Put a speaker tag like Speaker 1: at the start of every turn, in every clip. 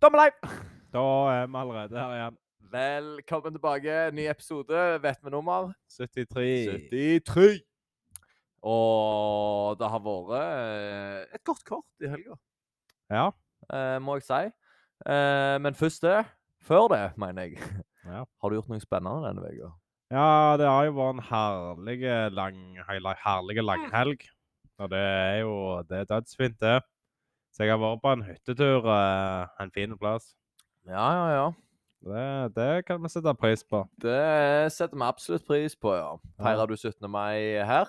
Speaker 1: Da er vi live!
Speaker 2: Da er vi allerede her igjen.
Speaker 1: Velkommen tilbake. Ny episode. Vet vi nummer?
Speaker 2: 73.
Speaker 1: 73. Og det har vært eh, et godt kort i helga,
Speaker 2: Ja.
Speaker 1: eh, må jeg si. Eh, Men først det. Før det, mener jeg.
Speaker 2: Ja.
Speaker 1: Har du gjort noe spennende denne uka?
Speaker 2: ja, det har jo vært en herlig lang, hei- herlig langhelg. Og det er jo det er dødsfint, det. Så jeg har vært på en hyttetur eh, en fin plass.
Speaker 1: Ja, ja, ja.
Speaker 2: Det, det kan vi sette pris på.
Speaker 1: Det setter vi absolutt pris på, ja.
Speaker 2: Ja.
Speaker 1: Feirer du 17. mai her?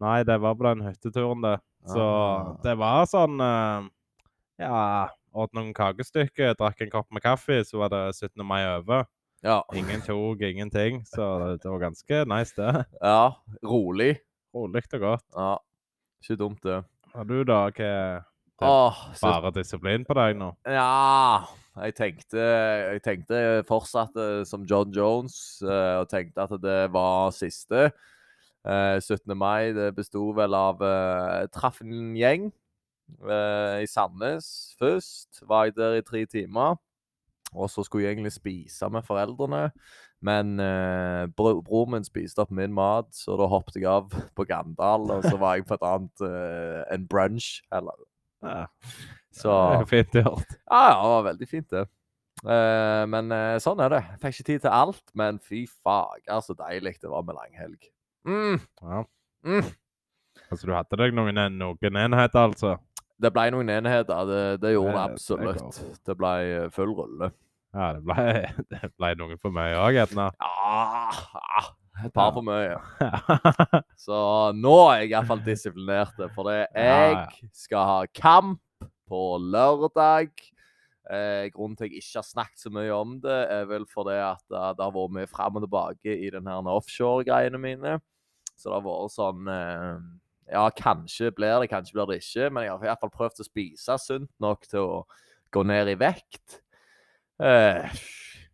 Speaker 2: Nei, det var på den hytteturen, det. Så
Speaker 1: Ah.
Speaker 2: det var sånn eh, Ja, åt noen kakestykker, drakk en kopp med kaffe, så var det 17. mai over.
Speaker 1: Ja.
Speaker 2: Ingen tok ingenting, så det var ganske nice, det.
Speaker 1: ja. Rolig.
Speaker 2: Rolig og godt.
Speaker 1: Ja. Ikke dumt, det.
Speaker 2: Og du, da? Hva Det-
Speaker 1: Åh, så,
Speaker 2: Bare disiplin på deg nå?
Speaker 1: ja jeg tenkte, jeg tenkte fortsatt eh, som John Jones, eh, og tenkte at det var siste. Eh, 17. mai det besto vel av eh, jeg Traff en gjeng eh, i Sandnes først. Var jeg der i tre timer. Og så skulle jeg egentlig spise med foreldrene, men eh, bro, broren min spiste opp min mat, så da hoppet jeg av på Gandal, og så var jeg på et annet eh, en brunch. Eller.
Speaker 2: Ja.
Speaker 1: Så
Speaker 2: Det er fint gjort.
Speaker 1: Ja, ja, det var veldig fint, det. Eh, men eh, sånn er det. Fikk ikke tid til alt, men fy fager, så deilig det var med langhelg. Mm,
Speaker 2: Ja.
Speaker 1: mm.
Speaker 2: Altså, du hadde deg noen, noen enheter, altså?
Speaker 1: Det ble noen enheter, det, det gjorde det
Speaker 2: Det- det er
Speaker 1: absolutt. Det ble eh, full rulle.
Speaker 2: Ja, det ble, det ble noen for meg òg, gjerne.
Speaker 1: Ja, ah, et par
Speaker 2: Ja.
Speaker 1: for mye.
Speaker 2: Ja.
Speaker 1: Så nå er jeg iallfall disiplinert, for det
Speaker 2: Ja, ja.
Speaker 1: jeg skal ha kamp på lørdag. Eh, grunnen til at jeg ikke har snakket så mye om det, er vel fordi at eh, det har vært mye fram og tilbake i den her offshore-greiene mine. Så det har vært sånn eh, Ja, kanskje blir det, kanskje blir det ikke. Men jeg har i hvert fall prøvd å spise sunt nok til å gå ned i vekt. Eh,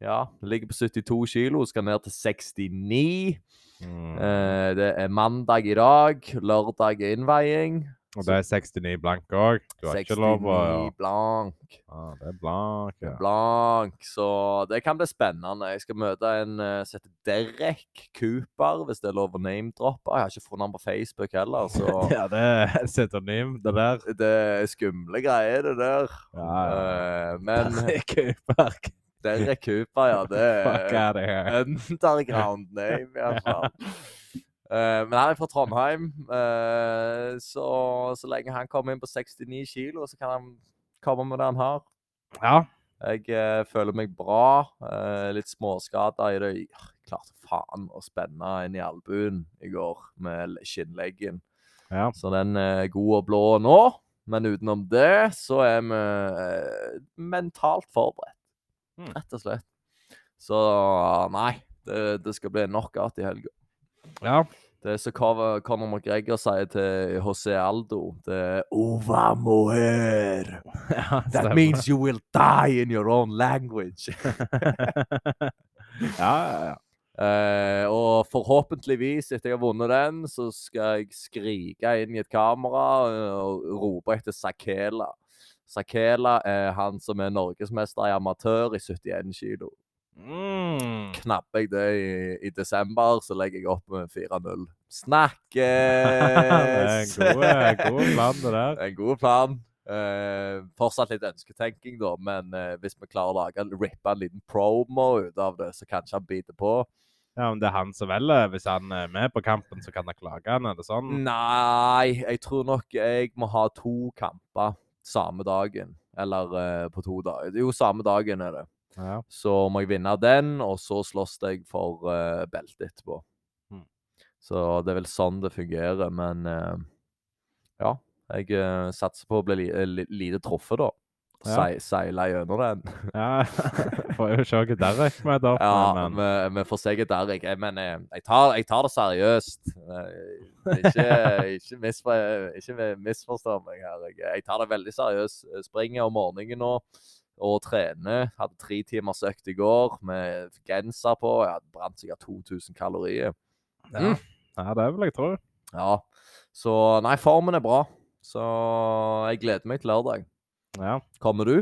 Speaker 1: ja, ligger på 72 kilo, skal ned til 69.
Speaker 2: Mm.
Speaker 1: Eh, det er mandag i dag, lørdag er innveiing.
Speaker 2: Og det er 69 blank òg. Du har ikke lov å ja.
Speaker 1: 69 blank.
Speaker 2: ja, Det er blank. Ja.
Speaker 1: Blank, så det kan bli spennende. Jeg skal møte en eh, som heter Derek Cooper, hvis det er lov å name-droppe. Jeg har ikke funnet han på Facebook heller, så
Speaker 2: ja, det er et synonym, det der.
Speaker 1: det er skumle greier, det der.
Speaker 2: Ja, ja.
Speaker 1: Eh, men
Speaker 2: Kupark.
Speaker 1: Derek Cooper, ja, det
Speaker 2: Fuck
Speaker 1: er Eh,
Speaker 2: out of here.
Speaker 1: underground name, i hvert fall. Eh, men han er fra Trondheim, eh, så så lenge han kommer inn på 69 kilo, så kan han komme med det han har.
Speaker 2: Ja.
Speaker 1: Jeg eh, føler meg bra. eh, litt småskada i det. Jeg klarte faen å spenne inn i albuen i går med l- skinnleggen.
Speaker 2: ja.
Speaker 1: Så den er god og blå nå. Men utenom det så er vi eh, mentalt forberedt,
Speaker 2: Mm.
Speaker 1: rett og slett. Så nei, det, det skal bli knockout i helga.
Speaker 2: ja.
Speaker 1: Det som Cov- Conor McGregor sier til José Aldo, det er Ova moher.
Speaker 2: ja
Speaker 1: That
Speaker 2: stemmer.
Speaker 1: means you will die in your own language.
Speaker 2: Ja, ja, ja.
Speaker 1: Eh, og forhåpentligvis, etter jeg har vunnet den, så skal jeg skrike inn i et kamera eh, og rope etter Sakela. Sakela er han som er norgesmester i amatør i 71 kilo. Eh,
Speaker 2: Mm.
Speaker 1: Knapper jeg det i, i desember, så legger jeg opp med 4-0. Snakkes!
Speaker 2: det er en god, eh, god plan, det der.
Speaker 1: Det er en god plan. Eh, fortsatt litt ønsketenking, da, men eh, hvis vi klarer å lage, rippe en liten promo ut av det, så kanskje han biter på.
Speaker 2: Ja, men det er han som velger. Hvis han er med på kampen, så kan han klage han, er det
Speaker 1: Mm.
Speaker 2: sånn?
Speaker 1: Nei, jeg tror nok jeg må ha to kamper samme dagen. Eller eh, på to dager. Jo, samme dagen er det.
Speaker 2: Ja.
Speaker 1: Så må jeg vinne den, og så slåss jeg for eh, beltet etterpå.
Speaker 2: Mm.
Speaker 1: Så det er vel sånn det fungerer, men eh, ja. Jeg eh, satser på å bli li li lite truffet, da.
Speaker 2: Ja.
Speaker 1: Sei- Seile gjennom den.
Speaker 2: ja. Får jo se hva Derek møter opp
Speaker 1: Ja,
Speaker 2: med, men
Speaker 1: vi, vi får se hva der jeg er, men eh, jeg tar, jeg tar det seriøst. Eh, Ikke, ikke, misfor, ikke mi- misforstå meg her. Jeg, jeg tar det veldig seriøst. Jeg Springer om morgenen nå og trener. Hadde tre timers økt i går med genser på. Jeg hadde brant sikkert 2000 kalorier.
Speaker 2: ja. ja, det vil jeg tro.
Speaker 1: Ja, så nei, formen er bra. Så jeg gleder meg til lørdag.
Speaker 2: Ja.
Speaker 1: Kommer du?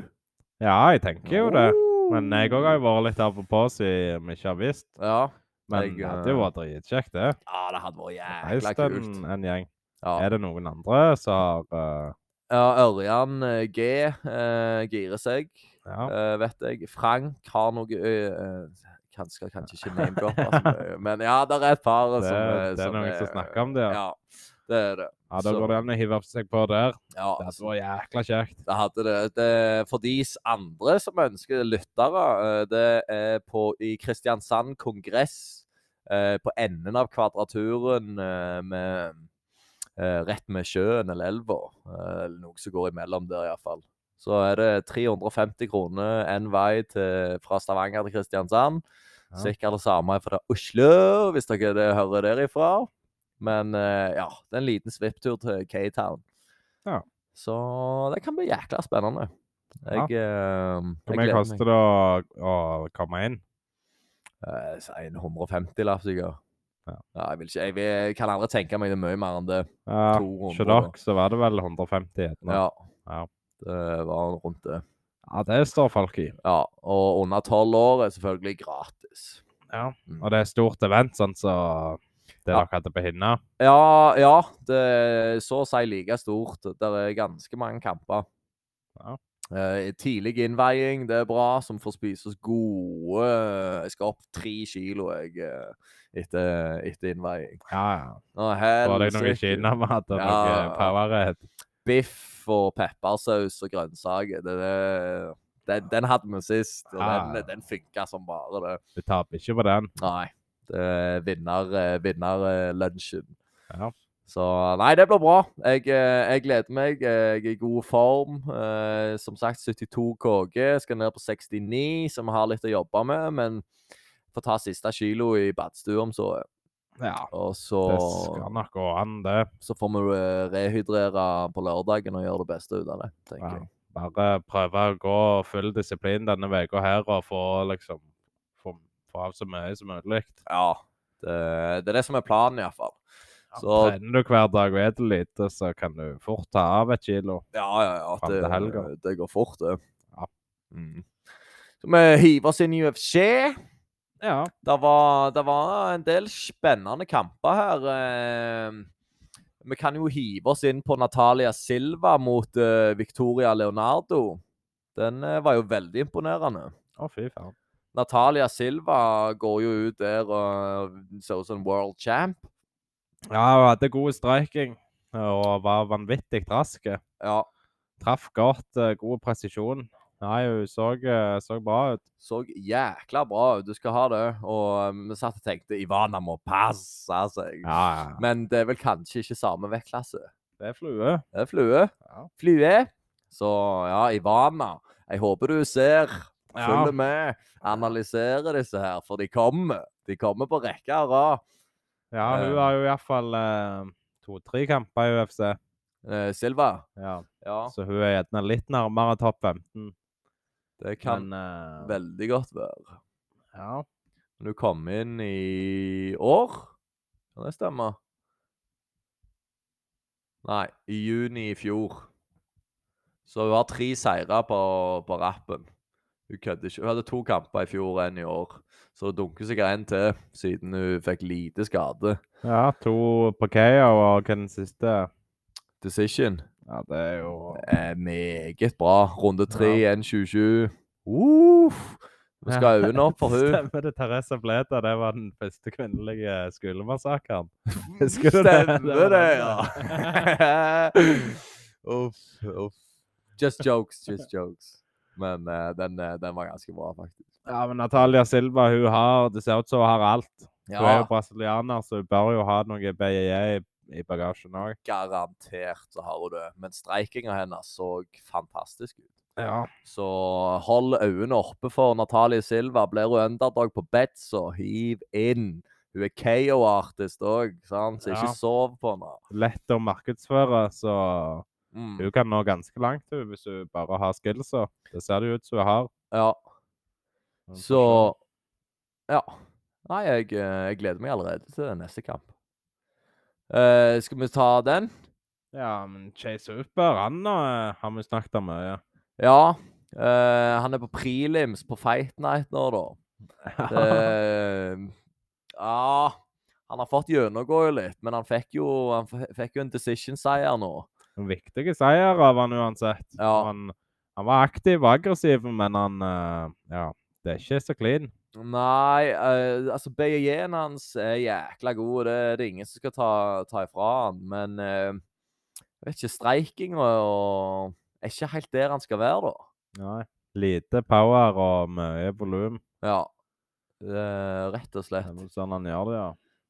Speaker 2: Ja, jeg tenker jo det. Men jeg òg har jo vært litt av og på siden vi ikke har visst.
Speaker 1: Ja.
Speaker 2: Men
Speaker 1: Jeg,
Speaker 2: det hadde jo
Speaker 1: eh,
Speaker 2: vært dritkjekt, det.
Speaker 1: ja, det hadde vært jækla
Speaker 2: Reist en,
Speaker 1: kult.
Speaker 2: en gjeng.
Speaker 1: Ja,
Speaker 2: Er det noen andre som har eh,
Speaker 1: ja Ørjan eh, G eh, girer seg,
Speaker 2: Ja.
Speaker 1: eh, vet jeg. Frank har noe eh, kan- Skal kanskje ikke name-droppe, så mye, men ja, det er et par
Speaker 2: Det,
Speaker 1: som eh,
Speaker 2: det er noen som
Speaker 1: eh,
Speaker 2: snakker om det, ja.
Speaker 1: Ja, det er det.
Speaker 2: Ja, Da
Speaker 1: så-
Speaker 2: går det an å hive seg på der.
Speaker 1: Ja, altså,
Speaker 2: Det hadde vært jækla kjekt.
Speaker 1: det hadde det. det. For de s- andre som ønsker lyttere, eh, det er på, i Kristiansand Kongress, eh, på enden av kvadraturen eh, med eh, rett med sjøen eller elva, eh, eller noe som går imellom der iallfall. Så er det 350 kroner en vei til, fra Stavanger til Kristiansand.
Speaker 2: Ja.
Speaker 1: Sikkert det samme fra Oslo, hvis dere det hører derifra. Men eh, ja, det er en liten svipptur til K-Town.
Speaker 2: Ja.
Speaker 1: Så det kan bli jækla spennende.
Speaker 2: Ja.
Speaker 1: Jeg, eh,
Speaker 2: Hvor
Speaker 1: jeg
Speaker 2: mye
Speaker 1: gleder meg.
Speaker 2: koster det å, å komme inn?
Speaker 1: Eh, si en 150-lapp, sikkert.
Speaker 2: Ja.
Speaker 1: Ja, jeg, vil ikke, jeg, vil, jeg kan aldri tenke meg det er mye mer enn det.
Speaker 2: Ja,
Speaker 1: 200,
Speaker 2: Hos
Speaker 1: da.
Speaker 2: dere så var det vel 150 etterpå.
Speaker 1: Ja.
Speaker 2: Ja.
Speaker 1: Det var rundt det.
Speaker 2: ja, det står folk i.
Speaker 1: Ja, og under tolv år er selvfølgelig gratis.
Speaker 2: Ja.
Speaker 1: Mm.
Speaker 2: Og det er stort event, sånn som det
Speaker 1: Ja.
Speaker 2: dere hadde på Hinna.
Speaker 1: Ja, ja, det er så å si like stort. Det er ganske mange kamper.
Speaker 2: Ja.
Speaker 1: Eh, tidlig innveiing, det er bra, som får spises gode Jeg skal opp tre kilo jeg, eh, etter, etter innveiing.
Speaker 2: Ja, ja.
Speaker 1: Å,
Speaker 2: Var det noe i
Speaker 1: helsike.
Speaker 2: Kina vi hadde?
Speaker 1: Ja,
Speaker 2: Noe
Speaker 1: ja.
Speaker 2: powerhead?
Speaker 1: biff og peppersaus og grønnsaker. Det, det, den, den hadde vi sist, og
Speaker 2: Ja.
Speaker 1: den, den funka som bare det.
Speaker 2: Du taper ikke på den.
Speaker 1: Nei. Det er vinner, eh, vinner eh, lunsjen.
Speaker 2: Ja.
Speaker 1: Så nei, det blir bra. Jeg, eh, jeg gleder meg. Jeg er i god form. Eh, Som sagt, 72 KG. Skal ned på 69, så vi har litt å jobbe med. Men får ta siste kilo i badstua om så.
Speaker 2: ja.
Speaker 1: Og så,
Speaker 2: Det skal nok gå an, det.
Speaker 1: så får vi eh, rehydrere på lørdagen og gjøre det beste ut av det, tenker
Speaker 2: Ja.
Speaker 1: jeg.
Speaker 2: Bare prøve å gå full disiplin denne uka her og få liksom få, få av så mye som mulig.
Speaker 1: Ja. Det, det er det som er planen, iallfall.
Speaker 2: Ja,
Speaker 1: Så-
Speaker 2: Trener du hver dag og spiser lite, så kan du fort ta av et kilo.
Speaker 1: Ja, ja, ja.
Speaker 2: Fram til helga.
Speaker 1: Det, det går fort, det.
Speaker 2: Ja.
Speaker 1: Mm. Så vi hiver oss inn i UFC.
Speaker 2: Ja.
Speaker 1: Det var, det var en del spennende kamper her. eh. Vi kan jo hive oss inn på Natalia Silva mot eh, Victoria Leonardo. Den eh, var jo veldig imponerende.
Speaker 2: Å, fy faen.
Speaker 1: Natalia Silva går jo ut der og ser ut som en world champ.
Speaker 2: Ja, hun hadde god striking og var vanvittig rask.
Speaker 1: Ja,
Speaker 2: Traff godt, eh, god presisjon. Nei, hun så, eh, så bra ut.
Speaker 1: så jækla bra ut. Du skal ha det. Og eh, vi satt og tenkte Ivana må passe seg.
Speaker 2: Ja, ja.
Speaker 1: Men det er vel kanskje ikke samme vektklasse.
Speaker 2: Det er flue.
Speaker 1: Det er flue.
Speaker 2: Ja.
Speaker 1: Flue. Så ja, Ivana, jeg håper du ser, følger med, analyserer disse her, for de kommer. De kommer på rekke og rad.
Speaker 2: ja
Speaker 1: Eh.
Speaker 2: hun har jo iallfall eh, to-tre kamper i UFC.
Speaker 1: Eh, Silva,
Speaker 2: Ja.
Speaker 1: ja,
Speaker 2: Så hun er gjerne litt nærmere topp 15.
Speaker 1: det kan
Speaker 2: men, eh,
Speaker 1: veldig godt være.
Speaker 2: Ja.
Speaker 1: Men du kom inn i år, kan det stemme? Nei, i juni i fjor. Så hun har tre seire på, på rappen. Hun kødder ikke. Hun hadde to kamper i fjor og en i år. Så det dunker sikkert en til, siden hun fikk lite skade.
Speaker 2: ja, to på KO, og hva er den siste?
Speaker 1: Decision.
Speaker 2: Ja, det er jo
Speaker 1: Eh, meget bra. Runde tre, 1.27. Uff! Vi skal øynene opp for hun.
Speaker 2: Stemmer det, Therese Bleda. Det var den første kvinnelige skolemassakren. Husker du det? Det
Speaker 1: Stemmer
Speaker 2: var
Speaker 1: det,
Speaker 2: den,
Speaker 1: ja. uff, uff. Just jokes, just jokes. Men eh, den, eh, den var ganske bra, faktisk.
Speaker 2: Ja, men Natalia Silva, hun har Det ser ut som hun har alt. Hun er
Speaker 1: Ja,
Speaker 2: jo brasilianer, så hun bør jo ha noe BIA i, i bagasjen òg.
Speaker 1: garantert så har hun det. Men streikinga hennes så fantastisk ut.
Speaker 2: Ja.
Speaker 1: Så hold øynene oppe for Natalie Silva. Blir hun underdog på bet, så hiv inn. Hun er KO-artist òg, sant? så
Speaker 2: Ja.
Speaker 1: ikke sov på henne.
Speaker 2: Lett å markedsføre, så
Speaker 1: Mm.
Speaker 2: hun kan nå ganske langt hun, hvis hun bare har skillsa. Det ser det jo ut som hun har.
Speaker 1: Ja.
Speaker 2: Men vi får
Speaker 1: Så
Speaker 2: se.
Speaker 1: Ja. Nei, jeg, eh, jeg gleder meg allerede til neste kamp. Eh, skal vi ta den?
Speaker 2: Ja, men Chase Hooper, han eh, har vi snakket om mye.
Speaker 1: Ja. Eh, han er på prelims på Fight Night nå, da. Det, ja Han har fått gjennomgå jo litt, men han fikk jo, han f- fikk jo en decision-seier nå.
Speaker 2: En viktig seier av han uansett.
Speaker 1: Ja.
Speaker 2: Han, han var aktiv og aggressiv, men han eh, Ja, det er ikke så clean.
Speaker 1: Nei, eh, altså BJJ-en hans er jækla god. Det er det ingen som skal ta, ta ifra han. Men eh, jeg vet ikke, streiking og, og Er ikke helt der han skal være, da.
Speaker 2: Nei. Lite power og mye volum.
Speaker 1: Ja. Eh, rett og
Speaker 2: Det
Speaker 1: slett.
Speaker 2: er vel sånn han gjør det, ja.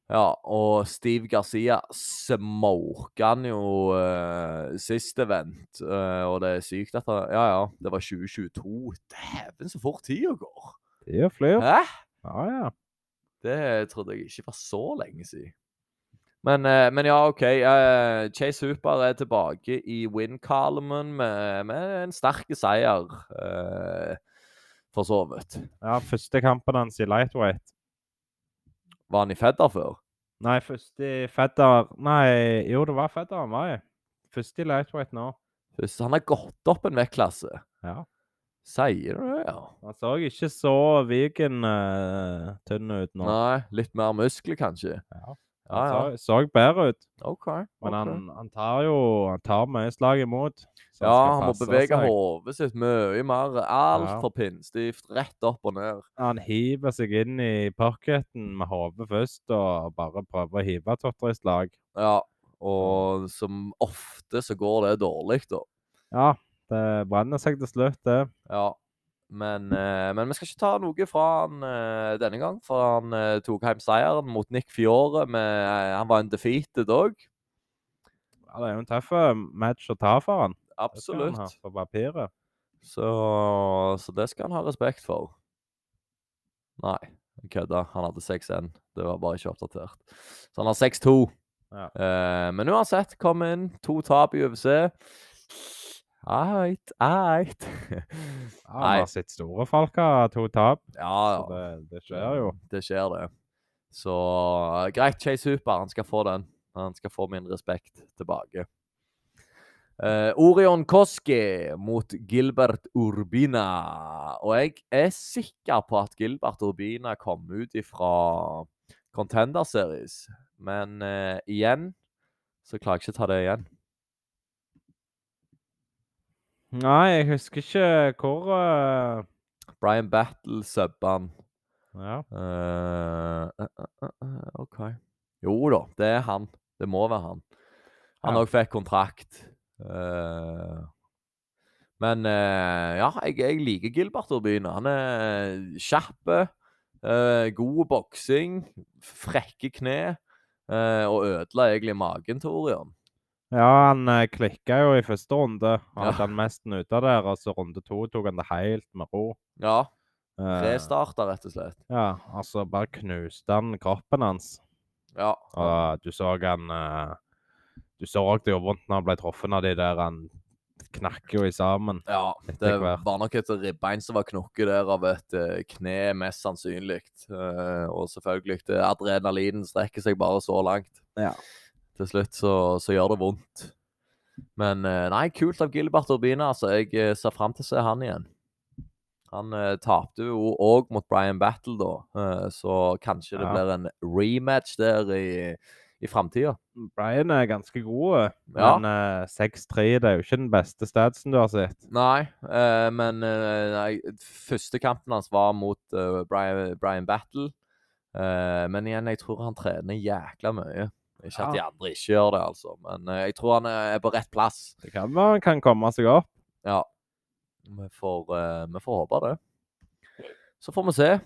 Speaker 1: Ja, og Steve Garcia smoka han jo eh, sist event. eh, og det er sykt at han Ja, ja, det var 2022. Dæven, så fort tida går!
Speaker 2: Tida flyr.
Speaker 1: Hæ?
Speaker 2: Ja, ja.
Speaker 1: Det trodde jeg ikke var så lenge siden. Men, eh, men ja, OK. eh, Chase Hooper er tilbake i win-columnen med, med en sterk seier, eh, for så vidt.
Speaker 2: ja. Første kampen hans i lightweight.
Speaker 1: Var han i Fedder før?
Speaker 2: Nei, først i Fedder Nei, jo, det var Fedder han var i. Først i lightweight nå.
Speaker 1: Hvis Han har gått opp en vektklasse.
Speaker 2: Ja.
Speaker 1: Sier du det, ja?
Speaker 2: Han så ikke så Viken eh, tynn ut nå.
Speaker 1: Nei. Litt mer muskler, kanskje?
Speaker 2: Ja.
Speaker 1: Ja, ja.
Speaker 2: Han så, så bedre ut.
Speaker 1: OK.
Speaker 2: Men
Speaker 1: ok.
Speaker 2: han, han tar jo Han tar mye slag imot. så
Speaker 1: ja,
Speaker 2: skal
Speaker 1: han må
Speaker 2: passe
Speaker 1: bevege
Speaker 2: seg.
Speaker 1: hodet sitt mye mer.
Speaker 2: Ja.
Speaker 1: Altfor pinnstivt. Rett opp og ned.
Speaker 2: Han hiver seg inn i pocketen med hodet først og bare prøver å hive Totter i slag.
Speaker 1: Ja. Og
Speaker 2: Mm.
Speaker 1: som ofte så går det dårlig, da.
Speaker 2: Ja, det brenner seg til slutt, det.
Speaker 1: Ja. Men, eh, men vi skal ikke ta noe fra han eh, denne gang, for han eh, tok hjem seieren mot Nick Fiore. Med, eh, han var en defeated òg.
Speaker 2: Ja, det er jo en tøff eh, match å ta for han. Det skal han ha
Speaker 1: Absolutt.
Speaker 2: På papiret.
Speaker 1: Så, så det skal han ha respekt for. Nei, jeg kødda. Han hadde 6-1. Det var bare ikke oppdatert. Så han har 6-2.
Speaker 2: Ja.
Speaker 1: Eh, men uansett, kom inn. To tap i UFC. Eit, eit.
Speaker 2: Ja, han
Speaker 1: Nei.
Speaker 2: har sitt store folk har to tap,
Speaker 1: Ja, Mm. ja.
Speaker 2: så det, det skjer jo.
Speaker 1: Det skjer, det. Så eh, greit, Chase Hooper. Han skal få den. Han skal få min respekt tilbake. Eh, Orion Koski mot Gilbert Urbina. Og jeg er sikker på at Gilbert Urbina kom ut ifra Contender Series, men eh, igjen så klarer jeg ikke å ta det igjen.
Speaker 2: Nei, jeg husker ikke hvor eh,
Speaker 1: Brian Battle subba han.
Speaker 2: Ja.
Speaker 1: Eh, eh, eh, eh, OK. Jo da, det er han. Det må være han. Han
Speaker 2: Ja.
Speaker 1: òg fikk kontrakt. Eh, men eh, ja, jeg, jeg liker Gilbert Urbina. Han er kjapp, eh, god boksing, frekke kne. eh, og ødela egentlig magen til Orion.
Speaker 2: ja, han eh, klikka jo i første runde. Han
Speaker 1: Ja.
Speaker 2: hadde han mesten ute av der, og så runde to tok han det helt med ro.
Speaker 1: Ja,
Speaker 2: Eh,
Speaker 1: restarta, rett og slett.
Speaker 2: ja, altså bare knuste han kroppen hans.
Speaker 1: Ja.
Speaker 2: Og du så han eh, Du så òg det gjorde vondt når han ble truffet av de der han knakk jo i sammen.
Speaker 1: Ja,
Speaker 2: Etter
Speaker 1: det
Speaker 2: hvert.
Speaker 1: var nok et ribbein som var knokket der av et eh, kne, mest sannsynlig. Eh, og selvfølgelig, det adrenalinen strekker seg bare så langt.
Speaker 2: Ja.
Speaker 1: Til slutt så, så gjør det vondt. Men eh, nei, kult av Gilbert Urbina. Altså, jeg eh, ser fram til å se han igjen. Han eh, tapte jo òg mot Brian Battle, da, eh, så kanskje det
Speaker 2: Ja.
Speaker 1: blir en rematch der i, i framtida.
Speaker 2: Brian er eh, ganske god,
Speaker 1: Ja.
Speaker 2: men eh, 6-3 det er jo ikke den beste statsen du har sett.
Speaker 1: Nei, eh, men eh, nei, første kampen hans var mot eh, Brian, Brian Battle. Eh, men igjen, jeg tror han trener jækla mye. Ikke at de
Speaker 2: Ja.
Speaker 1: andre ikke gjør det, altså, men eh, jeg tror han er er på rett plass.
Speaker 2: Det kan være han kan komme seg opp.
Speaker 1: Ja. Vi får, eh, vi får håpe det. Så får vi se.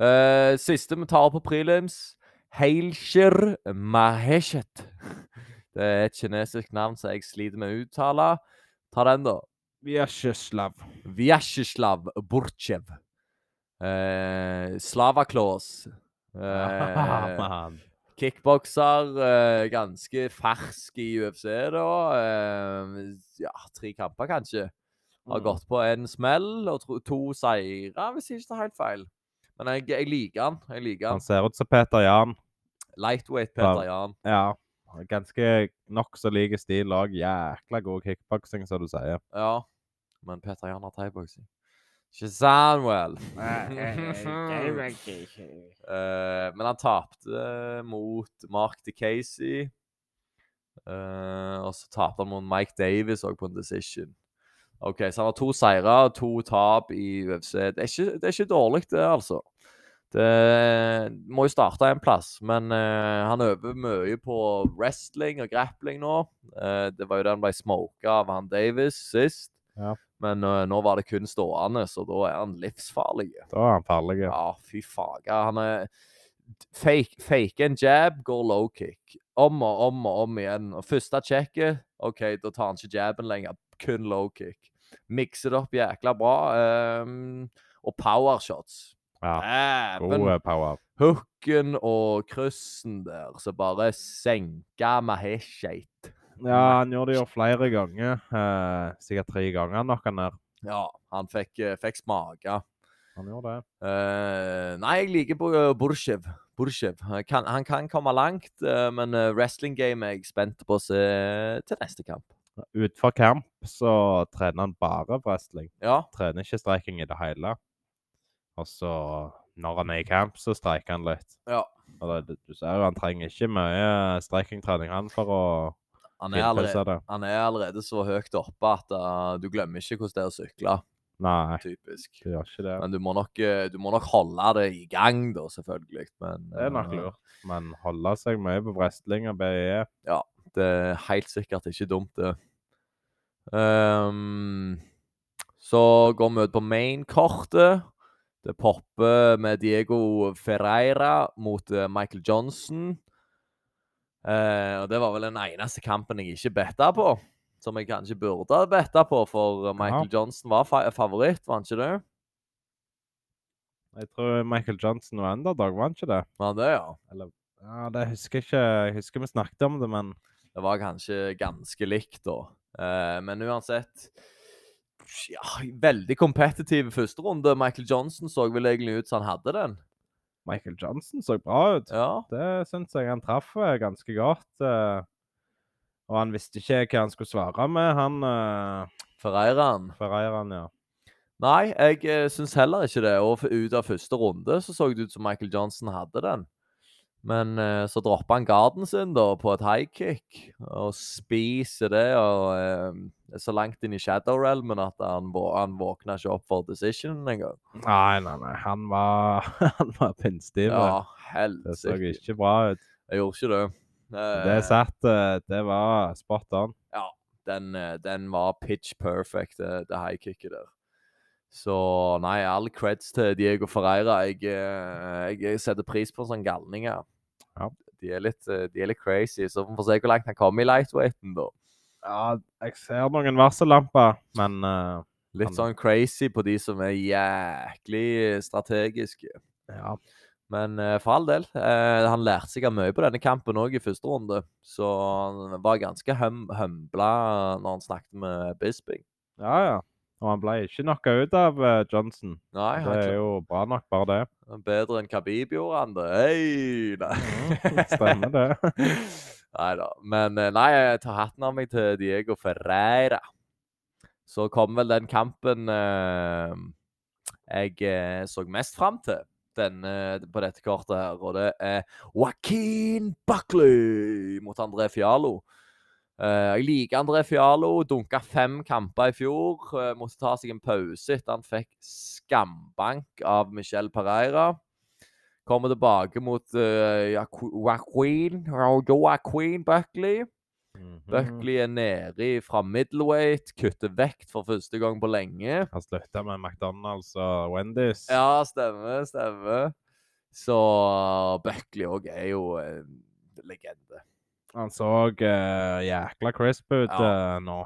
Speaker 1: Eh, siste vi tar på prelims, Heilshir Maheshet. Det er et kinesisk navn som jeg sliter med å uttale. Ta den, da.
Speaker 2: Vi er ikke slav.
Speaker 1: Vjatsjeslav Burtsjev. Eh, Slavaklås. Eh,
Speaker 2: Man.
Speaker 1: Kickbokser. Eh, ganske fersk i UFC, da. Eh, ja, tre kamper, kanskje. Har
Speaker 2: Mm.
Speaker 1: gått på en smell og tro, to seire, hvis jeg ikke tar helt feil. Men jeg, jeg liker han. Jeg liker
Speaker 2: Han
Speaker 1: han.
Speaker 2: ser ut som Peter Jan.
Speaker 1: Lightweight
Speaker 2: Ja.
Speaker 1: Peter Jan.
Speaker 2: Ja. Ganske nokså lik stil òg. Jækla god kickboksing, som du sier.
Speaker 1: Ja. Men Petter Jan har thaiboksing. Shazamwell! Eh, men han tapte eh, mot Mark DeCasey. Eh, og så tapte han mot Mike Davis òg på en decision. OK, så han har to seire og to tap i UFC. Det er ikke, det er ikke dårlig, det, altså. Det må jo starte en plass, men eh, han øver mye på wrestling og grappling nå. Eh, det var jo det han ble smoka av han Davis sist.
Speaker 2: Ja.
Speaker 1: Men eh, nå var det kun stående, så da er han livsfarlig.
Speaker 2: Da er han farlig.
Speaker 1: Ja, fy faga. Han er fake, fake en jab, går low kick. Om og om og om igjen. Og første checket, OK, da tar han ikke jabben lenger. Kun low kick. Mikser det opp jækla bra. ehm, og powershots.
Speaker 2: Ja. God
Speaker 1: Dæven!
Speaker 2: eh, power.
Speaker 1: Hooken og kryssen der, som bare senka Maheshate.
Speaker 2: Ja, han gjorde det jo flere ganger. eh, sikkert tre ganger han knocka ned.
Speaker 1: Ja, han fikk, eh, fikk smake.
Speaker 2: Han gjorde det.
Speaker 1: Eh, nei, jeg liker Bur- Burshev. Burshev. Han kan- Han kan komme langt, eh, men eh, wrestling-game er jeg spent på å se til neste kamp.
Speaker 2: Utenfor kamp så trener han bare wrestling.
Speaker 1: Ja,
Speaker 2: Trener ikke streiking i det hele. Og så, når han er i kamp, så streiker han litt.
Speaker 1: Ja.
Speaker 2: Og det, du ser jo, han trenger ikke mye streikingtrening han for å
Speaker 1: han er allerede,
Speaker 2: tilpasse det.
Speaker 1: han er allerede så høyt oppe at eh, du glemmer ikke hvordan det er å sykle,
Speaker 2: Nei,
Speaker 1: typisk.
Speaker 2: du gjør ikke det.
Speaker 1: Men du må nok, eh, du må nok holde det i gang, da, selvfølgelig. Men,
Speaker 2: Det er nok
Speaker 1: eh,
Speaker 2: lurt. Men holde seg mye på wrestling og E. BE.
Speaker 1: Det er eh, helt sikkert ikke dumt, det. Ehm, så går vi ut på main-kortet. Det popper med Diego Ferreira mot eh, Michael Johnson. Eh, og det var vel den eneste kampen jeg ikke betta på. Som jeg kanskje burde ha betta på, for eh, Michael Johnson var fa favoritt, var han ikke det?
Speaker 2: Jeg tror Michael Johnson var underdog, var han ikke det?
Speaker 1: Var han det, ja?
Speaker 2: Ja, Det husker jeg ikke. Jeg husker vi snakket om det, men
Speaker 1: Det var kanskje ganske likt, da. Eh, men uansett ja, Veldig kompetitiv første runde. Michael Johnson så vel egentlig ut som han hadde den.
Speaker 2: Michael Johnson så bra ut.
Speaker 1: Ja,
Speaker 2: Det syns jeg han traff eh, ganske godt. eh, Og han visste ikke hva han skulle svare med, han eh,
Speaker 1: Ferreiraen.
Speaker 2: Ferreiran, ja.
Speaker 1: Nei, jeg eh, syns heller ikke det. Og f- ut av første runde så så det ut som Michael Johnson hadde den. Men eh, så dropper han garden sin da på et high kick og spiser det. og eh, er Så langt inn i shadow realmen at han, vå- han våkna ikke opp for decisionen engang.
Speaker 2: Nei, nei, nei. Han var, han var pinnstiv.
Speaker 1: Ja,
Speaker 2: det så
Speaker 1: helsike.
Speaker 2: ikke bra ut.
Speaker 1: Jeg gjorde ikke det.
Speaker 2: Det
Speaker 1: Eh,
Speaker 2: satt eh, Det var spot on.
Speaker 1: den, eh, den var pitch perfect, eh, det, det high kicket der. Så nei, all creds til Diego Ferreira. Jeg, eh, jeg, jeg setter pris på sånne galninger.
Speaker 2: Ja.
Speaker 1: De er litt, eh, de er litt crazy, så vi får se hvor langt han kommer i lightweighten, da.
Speaker 2: Ja, jeg ser noen varsellamper, men eh,
Speaker 1: Litt
Speaker 2: Han-
Speaker 1: sånn crazy på de som er jæklig strategiske.
Speaker 2: ja.
Speaker 1: Men eh, for all del, eh, han lærte sikkert mye på denne kampen òg i første runde. Så han var ganske hum humbla når han snakket med Bisping.
Speaker 2: ja, ja. Og han ble ikke knocka ut av eh, Johnson.
Speaker 1: Nei,
Speaker 2: Det
Speaker 1: han
Speaker 2: er
Speaker 1: kla-
Speaker 2: jo bra nok, bare det.
Speaker 1: bedre enn Khabib gjorde han det. Hei, nei.
Speaker 2: Stemmer det.
Speaker 1: nei da. Men eh, nei, jeg tar hatten av meg til Diego Ferreira. Så kom vel den kampen eh, jeg eh, så mest fram til denne, på dette kortet her, og det er Joaquin Buckley mot André Fialo. Eh, jeg liker André Fialo. Dunka fem kamper i fjor. eh, måtte ta seg en pause etter han fikk skambank av Michel Pereira. Kommer tilbake mot eh, Joaqu- Joaquin, Joaquin Buckley.
Speaker 2: Mm. Mhm.
Speaker 1: Buckley er nede i- fra middleweight, kutter vekt for første gang på lenge.
Speaker 2: Han slutta med McDonald's og Wendy's.
Speaker 1: Ja, stemmer, stemmer. Så Buckley òg er jo en legende.
Speaker 2: Han så eh, jækla crisp ut
Speaker 1: Ja.
Speaker 2: eh, nå.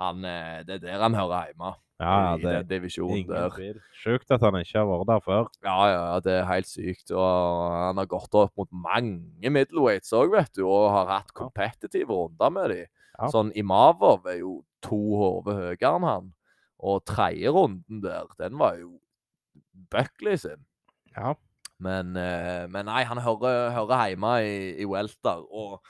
Speaker 1: Han, eh, det er der han hører hjemme.
Speaker 2: Ja, ja,
Speaker 1: I
Speaker 2: det
Speaker 1: den
Speaker 2: er
Speaker 1: divisjonen
Speaker 2: ingen
Speaker 1: der.
Speaker 2: tvil. Sjukt at han ikke har vært der før.
Speaker 1: Ja, ja, ja, det er helt sykt. Og han har gått opp mot mange middleweights òg, vet du, og har hatt
Speaker 2: Ja.
Speaker 1: kompetitive runder med dem.
Speaker 2: Ja.
Speaker 1: Sånn Imavov er jo to hoder høyere enn han. Og tredje runden der, den var jo Buckley sin.
Speaker 2: Ja.
Speaker 1: Men, eh, men nei, han hører, hører hjemme i, i Welter. Og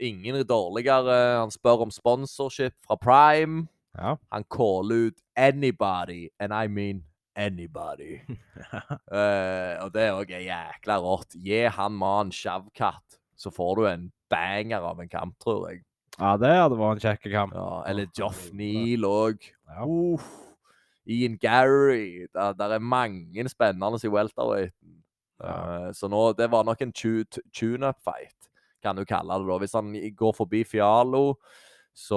Speaker 1: ingen er dårligere. Han spør om sponsorship fra Prime.
Speaker 2: Ja.
Speaker 1: Han caller ut 'anybody', and I mean anybody. Eh, og det er òg jækla rått. Gi han mannen sjavkatt, så får du en banger av en kamp, tror jeg.
Speaker 2: ja, det hadde vært en kjekk kamp.
Speaker 1: Ja, eller Joff
Speaker 2: helvete.
Speaker 1: Neal òg.
Speaker 2: Ja.
Speaker 1: Uff. Ian Gary. Der, der er mange spennende i welterweighten.
Speaker 2: Ja.
Speaker 1: Eh, så nå, det var nok en tu- tu- tune-up-fight, kan du kalle det. da. Hvis han i- går forbi Fialo, så,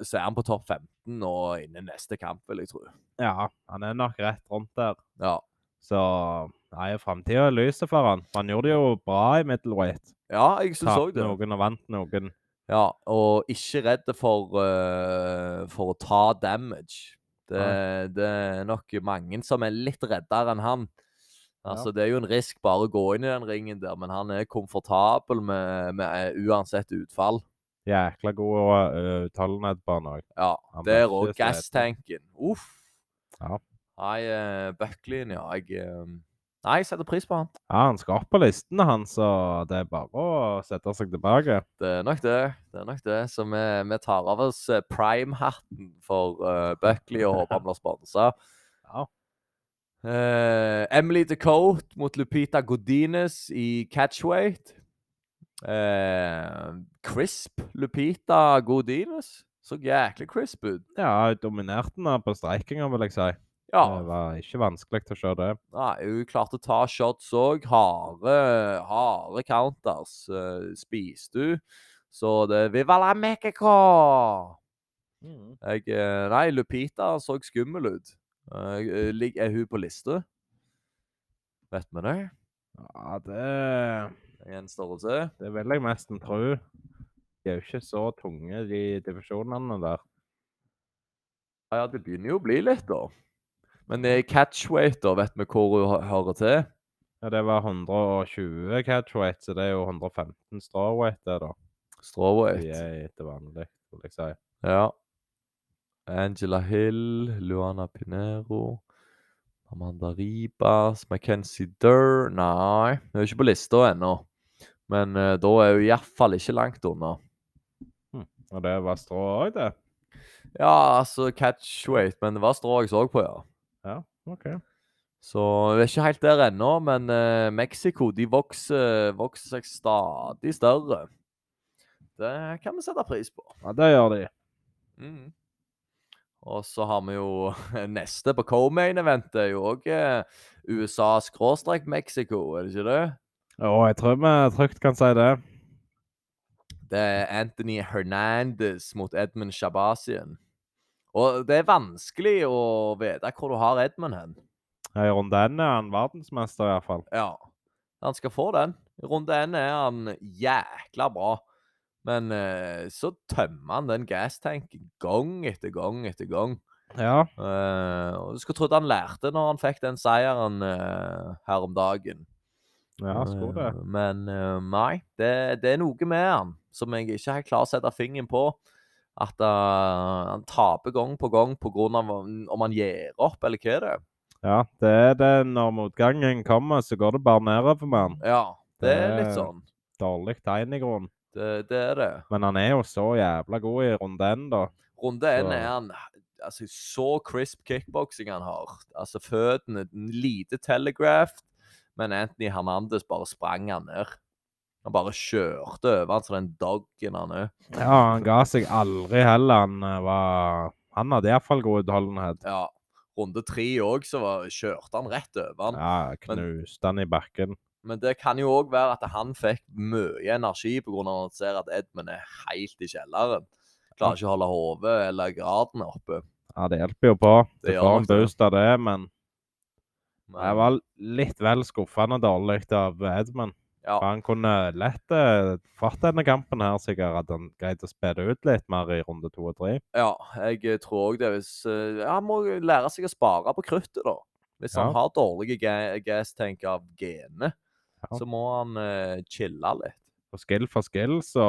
Speaker 1: så er han på topp 15 og innen neste kamp, vil jeg tro.
Speaker 2: ja, han er nok rett rundt der.
Speaker 1: Ja.
Speaker 2: Så nei, framtida er lyset for han. For Han gjorde det jo bra i middleweight.
Speaker 1: ja, jeg syns òg
Speaker 2: Tapte
Speaker 1: det.
Speaker 2: noen og vant noen.
Speaker 1: Ja, og ikke redd for, eh, for å ta damage. Det, det er nok mange som er litt reddere enn han.
Speaker 2: Ja.
Speaker 1: Altså, Det er jo en risk bare å gå inn i den ringen der, men han er komfortabel med, med eh, uansett utfall.
Speaker 2: Jækla god uh, utholdenhet på han òg.
Speaker 1: Ja,
Speaker 2: Han blir
Speaker 1: Der
Speaker 2: ikke
Speaker 1: og
Speaker 2: sliten.
Speaker 1: gasstanken. Uff.
Speaker 2: Ja.
Speaker 1: Nei, uh, Buckleyen, ja. Jeg eh, Nei, jeg setter pris på han.
Speaker 2: Ja, han skal opp på listene, han, så det er bare å sette seg tilbake.
Speaker 1: Det er nok det. det er nok det. Så vi, vi tar av oss eh, prime-hatten for eh, Buckley og håper han blir sponsa.
Speaker 2: Ja.
Speaker 1: Eh, Emily DeCote mot Lupita Godinez i catchweight. Eh, crisp Lupita Godinez. Så jæklig crisp ut.
Speaker 2: Ja, dominerte han da på streikinga, vil jeg si.
Speaker 1: Ja.
Speaker 2: Det var ikke vanskelig til å se det.
Speaker 1: Nei, hun klarte å ta shots òg. Harde, harde counters eh, spiste hun. Så det Viva la Mexico! Jeg, eh, nei, Lupita så skummel ut. Eh, eh, lig- Er hun på liste? Vet vi det?
Speaker 2: Ja, det
Speaker 1: Det gjenstår å se.
Speaker 2: Det vil jeg nesten tro. De er jo ikke så tunge, de divisjonene der.
Speaker 1: Ja, Ja, det begynner jo å bli litt, da. Men eh, catchweight, da, vet vi hvor hun hø- hører til?
Speaker 2: Ja, det var 120 catchweight, så det er jo 115 strawweight, det, da. De
Speaker 1: Strawweight.
Speaker 2: er etter vanlig, vil jeg si.
Speaker 1: Ja. Angela Hill, Luana Pinero, Amanda Ribas, Mackenzie Durr Nei, hun er ikke på lista ennå. Men eh, da er hun iallfall ikke langt unna.
Speaker 2: Og det var strå òg, det.
Speaker 1: Ja, altså catchweight, men det var strå jeg så på, ja.
Speaker 2: Ja, OK.
Speaker 1: Så vi er ikke helt der ennå, men eh, Mexico de vokser, vokser seg stadig større. Det kan vi sette pris på.
Speaker 2: Ja, det gjør de.
Speaker 1: Mm. Og så har vi jo neste på co-main-eventet, er jo eh, òg USA-Mexico, er det ikke det?
Speaker 2: Og jeg tror vi trygt kan si det.
Speaker 1: Det er Anthony Hernandez mot Edmund Shabazian. Og det er vanskelig å vite hvor du har Edmund hen.
Speaker 2: I runde N er han verdensmester, iallfall.
Speaker 1: Ja. Han skal få den. I runde én er han jækla bra. Men eh, så tømmer han den gasstanken gang etter gang etter gang.
Speaker 2: Ja.
Speaker 1: Eh, og Du skulle trodd han lærte når han fikk den seieren eh, her om dagen.
Speaker 2: ja, skulle det.
Speaker 1: Eh, Men eh, nei, det, det er noe med han som jeg ikke helt klarer å sette fingeren på. At eh, han taper gang på gang pga. om han gir opp, eller hva er det?
Speaker 2: Ja, det er det. Når motgangen kommer, så går det bare nedover med han.
Speaker 1: Ja, det er
Speaker 2: Det-
Speaker 1: litt sånn.
Speaker 2: Dårlig tegn, i grunnen.
Speaker 1: Det, det er det.
Speaker 2: Men han er jo så jævla god i runde N, da.
Speaker 1: Runde én
Speaker 2: Så-
Speaker 1: er han altså, så crisp kickboksing han har. Altså føttene lite telegraphed, men Anthony Hernandez bare sprang han ned. Han bare kjørte over han som den doggen han er.
Speaker 2: Ja, han ga seg aldri heller. Han eh, var Han hadde iallfall god utholdenhet.
Speaker 1: Ja. Runde tre òg, så var- kjørte han rett over han.
Speaker 2: Ja,
Speaker 1: Men-
Speaker 2: knuste han i bakken.
Speaker 1: Men det kan jo òg være at han fikk mye energi pga. at han ser at Edmund er helt i kjelleren. Klarer ikke å holde hodet eller graden oppe.
Speaker 2: Ja, det hjelper jo på.
Speaker 1: Det
Speaker 2: Det
Speaker 1: gjør
Speaker 2: får
Speaker 1: nok
Speaker 2: en
Speaker 1: det.
Speaker 2: boost av det, men det
Speaker 1: Men-
Speaker 2: var litt vel skuffende dårlig av Edmund.
Speaker 1: Ja.
Speaker 2: For Han kunne lett eh, fått denne kampen her, sikkert. At han greide å spille ut litt mer i runde to og tre.
Speaker 1: Ja, jeg eh, tror òg det. Hvis, eh, ja, han må jo lære seg å spare på kruttet, da. Hvis han
Speaker 2: Ja.
Speaker 1: har dårlige ga gastank av gene,
Speaker 2: Ja.
Speaker 1: så må han eh, chille litt.
Speaker 2: Og skill for skill, så,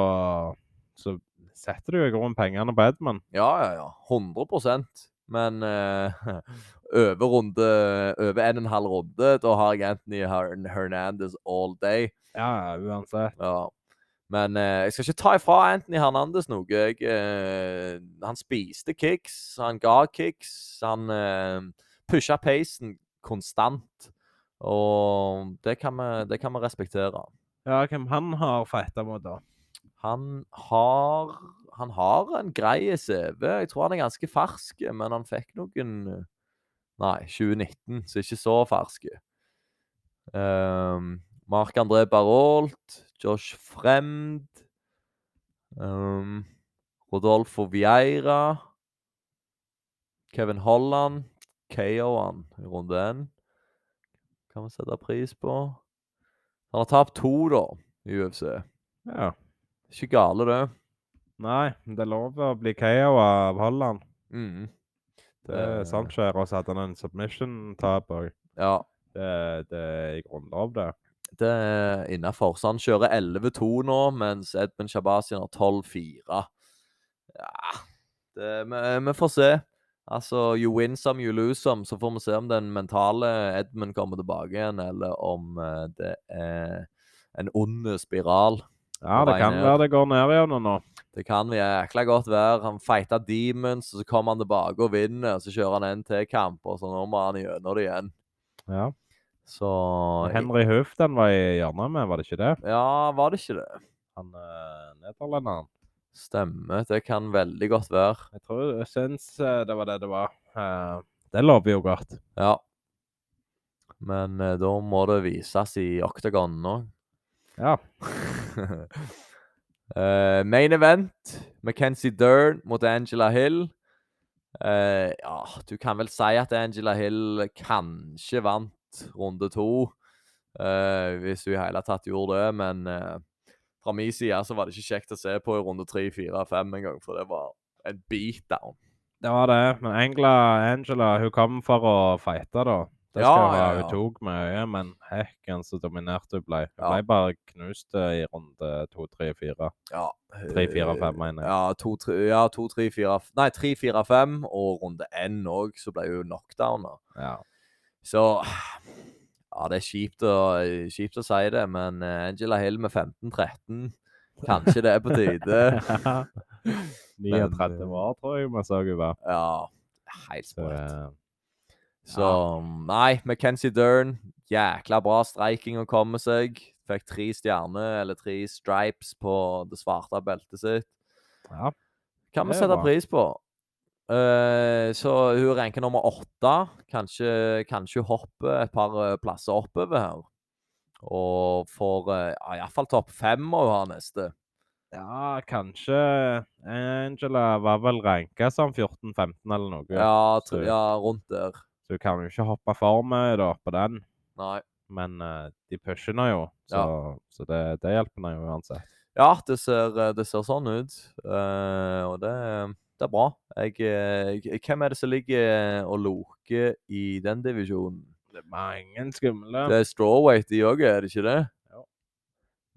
Speaker 2: så setter du i grunnen pengene på Edmund.
Speaker 1: Ja, ja, ja. 100 Men eh, over runde Over en og en halv runde, da har jeg Anthony Hern Hernandez all day.
Speaker 2: Ja, uansett.
Speaker 1: Ja. Men eh, jeg skal ikke ta ifra Anthony Hernandez noe. Jeg, eh, han spiste kicks, han ga kicks, han eh, pusha pacen konstant. Og det kan vi, det kan vi respektere.
Speaker 2: Ja, hvem han har fighta mot, da?
Speaker 1: Han har Han har en grei CV. Jeg tror han er ganske fersk, men han fikk noen eh, Nei, 2019, så ikke så ferske. Um, Marc-André Barrault, Josh Fremd um, Rodolfo Vieira Kevin Holland KO-han i runde én. Kan vi sette pris på. Han har tapt to, da, i UFC.
Speaker 2: Ja.
Speaker 1: Ikke gale, det.
Speaker 2: Nei, men det er lov å bli KO av Holland.
Speaker 1: Mm.
Speaker 2: Det er sant skjer. Og så hadde han en submission-tap òg.
Speaker 1: Ja,
Speaker 2: Det, det er i grunnlov, det.
Speaker 1: det er innafor. Så han kjører 11-2 nå, mens Edmund Shabazian har 12-4. Ja det, vi, vi får se. Altså, you win some, you lose some. Så får vi se om den mentale Edmund kommer tilbake igjen, eller om eh, det er en ond spiral.
Speaker 2: Ja,
Speaker 1: På
Speaker 2: det
Speaker 1: vei
Speaker 2: kan
Speaker 1: ned.
Speaker 2: være det går ned igjen nå.
Speaker 1: Det kan jækla godt være. Han fighta Demons, og så kommer han tilbake og vinner. og Så kjører han en til kamp, og så nå må han gjennom det igjen.
Speaker 2: Ja.
Speaker 1: Så
Speaker 2: Og Henry Hoof, den var i hjørnet med, var det ikke det?
Speaker 1: Ja, var det ikke det?
Speaker 2: Han eh, nederlenderen.
Speaker 1: Stemmer. Det kan veldig godt være.
Speaker 2: Jeg tror jeg syns eh, det var det det var. Eh, det lover jo godt.
Speaker 1: Ja. Men eh, da må det vises i oktagonen òg.
Speaker 2: Ja.
Speaker 1: Eh, main event. Mackenzie Dern mot Angela Hill. Eh, ja, du kan vel si at Angela Hill kanskje vant runde to. eh, hvis hun i hele tatt gjorde det, men eh, fra min side så var det ikke kjekt å se på i runde tre, fire, fem engang, for det var en beatdown.
Speaker 2: Det var det. Men Angela, Angela hun kom for å fighte, da. Det
Speaker 1: Ja,
Speaker 2: skal hun
Speaker 1: ja,
Speaker 2: ha.
Speaker 1: ja.
Speaker 2: Hun tok med øyet, men hekken så dominert hun ble. Hun
Speaker 1: Ja.
Speaker 2: ble bare knust eh, i runde to, tre, fire.
Speaker 1: Ja.
Speaker 2: Tre, fire,
Speaker 1: eh,
Speaker 2: fem, mener jeg.
Speaker 1: Ja, to, tre, ja, to, tre, fire f- Nei, tre, fire, fem, og runde N òg, så ble hun knockdowna.
Speaker 2: Ja.
Speaker 1: Så Ja, det er kjipt å, kjipt å si det, men eh, Angela Hill med 15-13 Kanskje det er på tide. eh,
Speaker 2: 39 år, tror jeg vi så hun var.
Speaker 1: Ja. Helt
Speaker 2: Så,
Speaker 1: sprøtt.
Speaker 2: eh,
Speaker 1: Så nei, McKenzie Dern. Jækla bra streiking å komme seg. Fikk tre stjerner, eller tre stripes, på det svarte beltet sitt.
Speaker 2: ja.
Speaker 1: kan vi
Speaker 2: Det er
Speaker 1: sette
Speaker 2: bra.
Speaker 1: pris på. Eh, så hun ranker nummer åtte. Kanskje, kanskje hun hopper et par eh, plasser oppover her. Og får uh, iallfall topp fem må hun ha neste.
Speaker 2: ja, kanskje Angela var vel ranka som 14-15 eller noe.
Speaker 1: Ja,
Speaker 2: så-
Speaker 1: tr- ja, rundt der.
Speaker 2: Så hun kan jo ikke hoppe for meg da, på den.
Speaker 1: Nei.
Speaker 2: Men eh, de pusher henne jo, så, så det, det hjelper henne jo uansett.
Speaker 1: Ja, det ser, eh, det ser sånn ut. Eh, og det, det er bra. Jeg, eh, jeg- hvem er det som ligger og loker i den divisjonen?
Speaker 2: Det er mange skumle.
Speaker 1: Det er strawweight de òg, er det ikke det?
Speaker 2: Jo.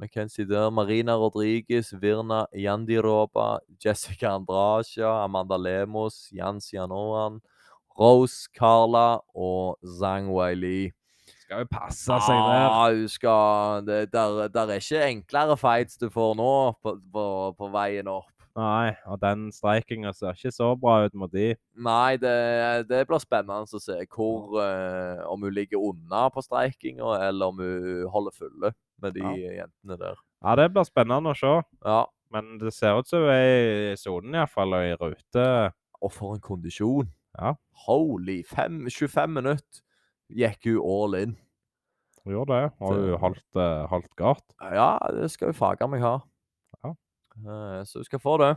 Speaker 1: McKenzie der, Marina Rodriguez, Virna Yandiroba, Jessica Andrasja, Amanda Lemos, Jan Sianoan, Rose Carla og Zhang Weili.
Speaker 2: skal jo passe seg der.
Speaker 1: Ah, hun skal det, der, der er ikke enklere fights du får nå på, på, på veien opp.
Speaker 2: Nei, og den streikinga ser ikke så bra ut mot de.
Speaker 1: Nei, det, det blir spennende å se hvor, eh, om hun ligger unna på streikinga, eller om hun holder fulle med de jentene der.
Speaker 2: Ja, det blir spennende å se.
Speaker 1: Ja,
Speaker 2: Men det ser ut som hun er i sonen iallfall, og i rute.
Speaker 1: Og for en kondisjon.
Speaker 2: Ja.
Speaker 1: Holy fem, 25 minutter gikk hun all in.
Speaker 2: Hun gjorde det, og
Speaker 1: Det-
Speaker 2: hun holdt, eh, holdt godt.
Speaker 1: Ja, det skal hun faga meg ha.
Speaker 2: Ja.
Speaker 1: Eh, så hun skal få det.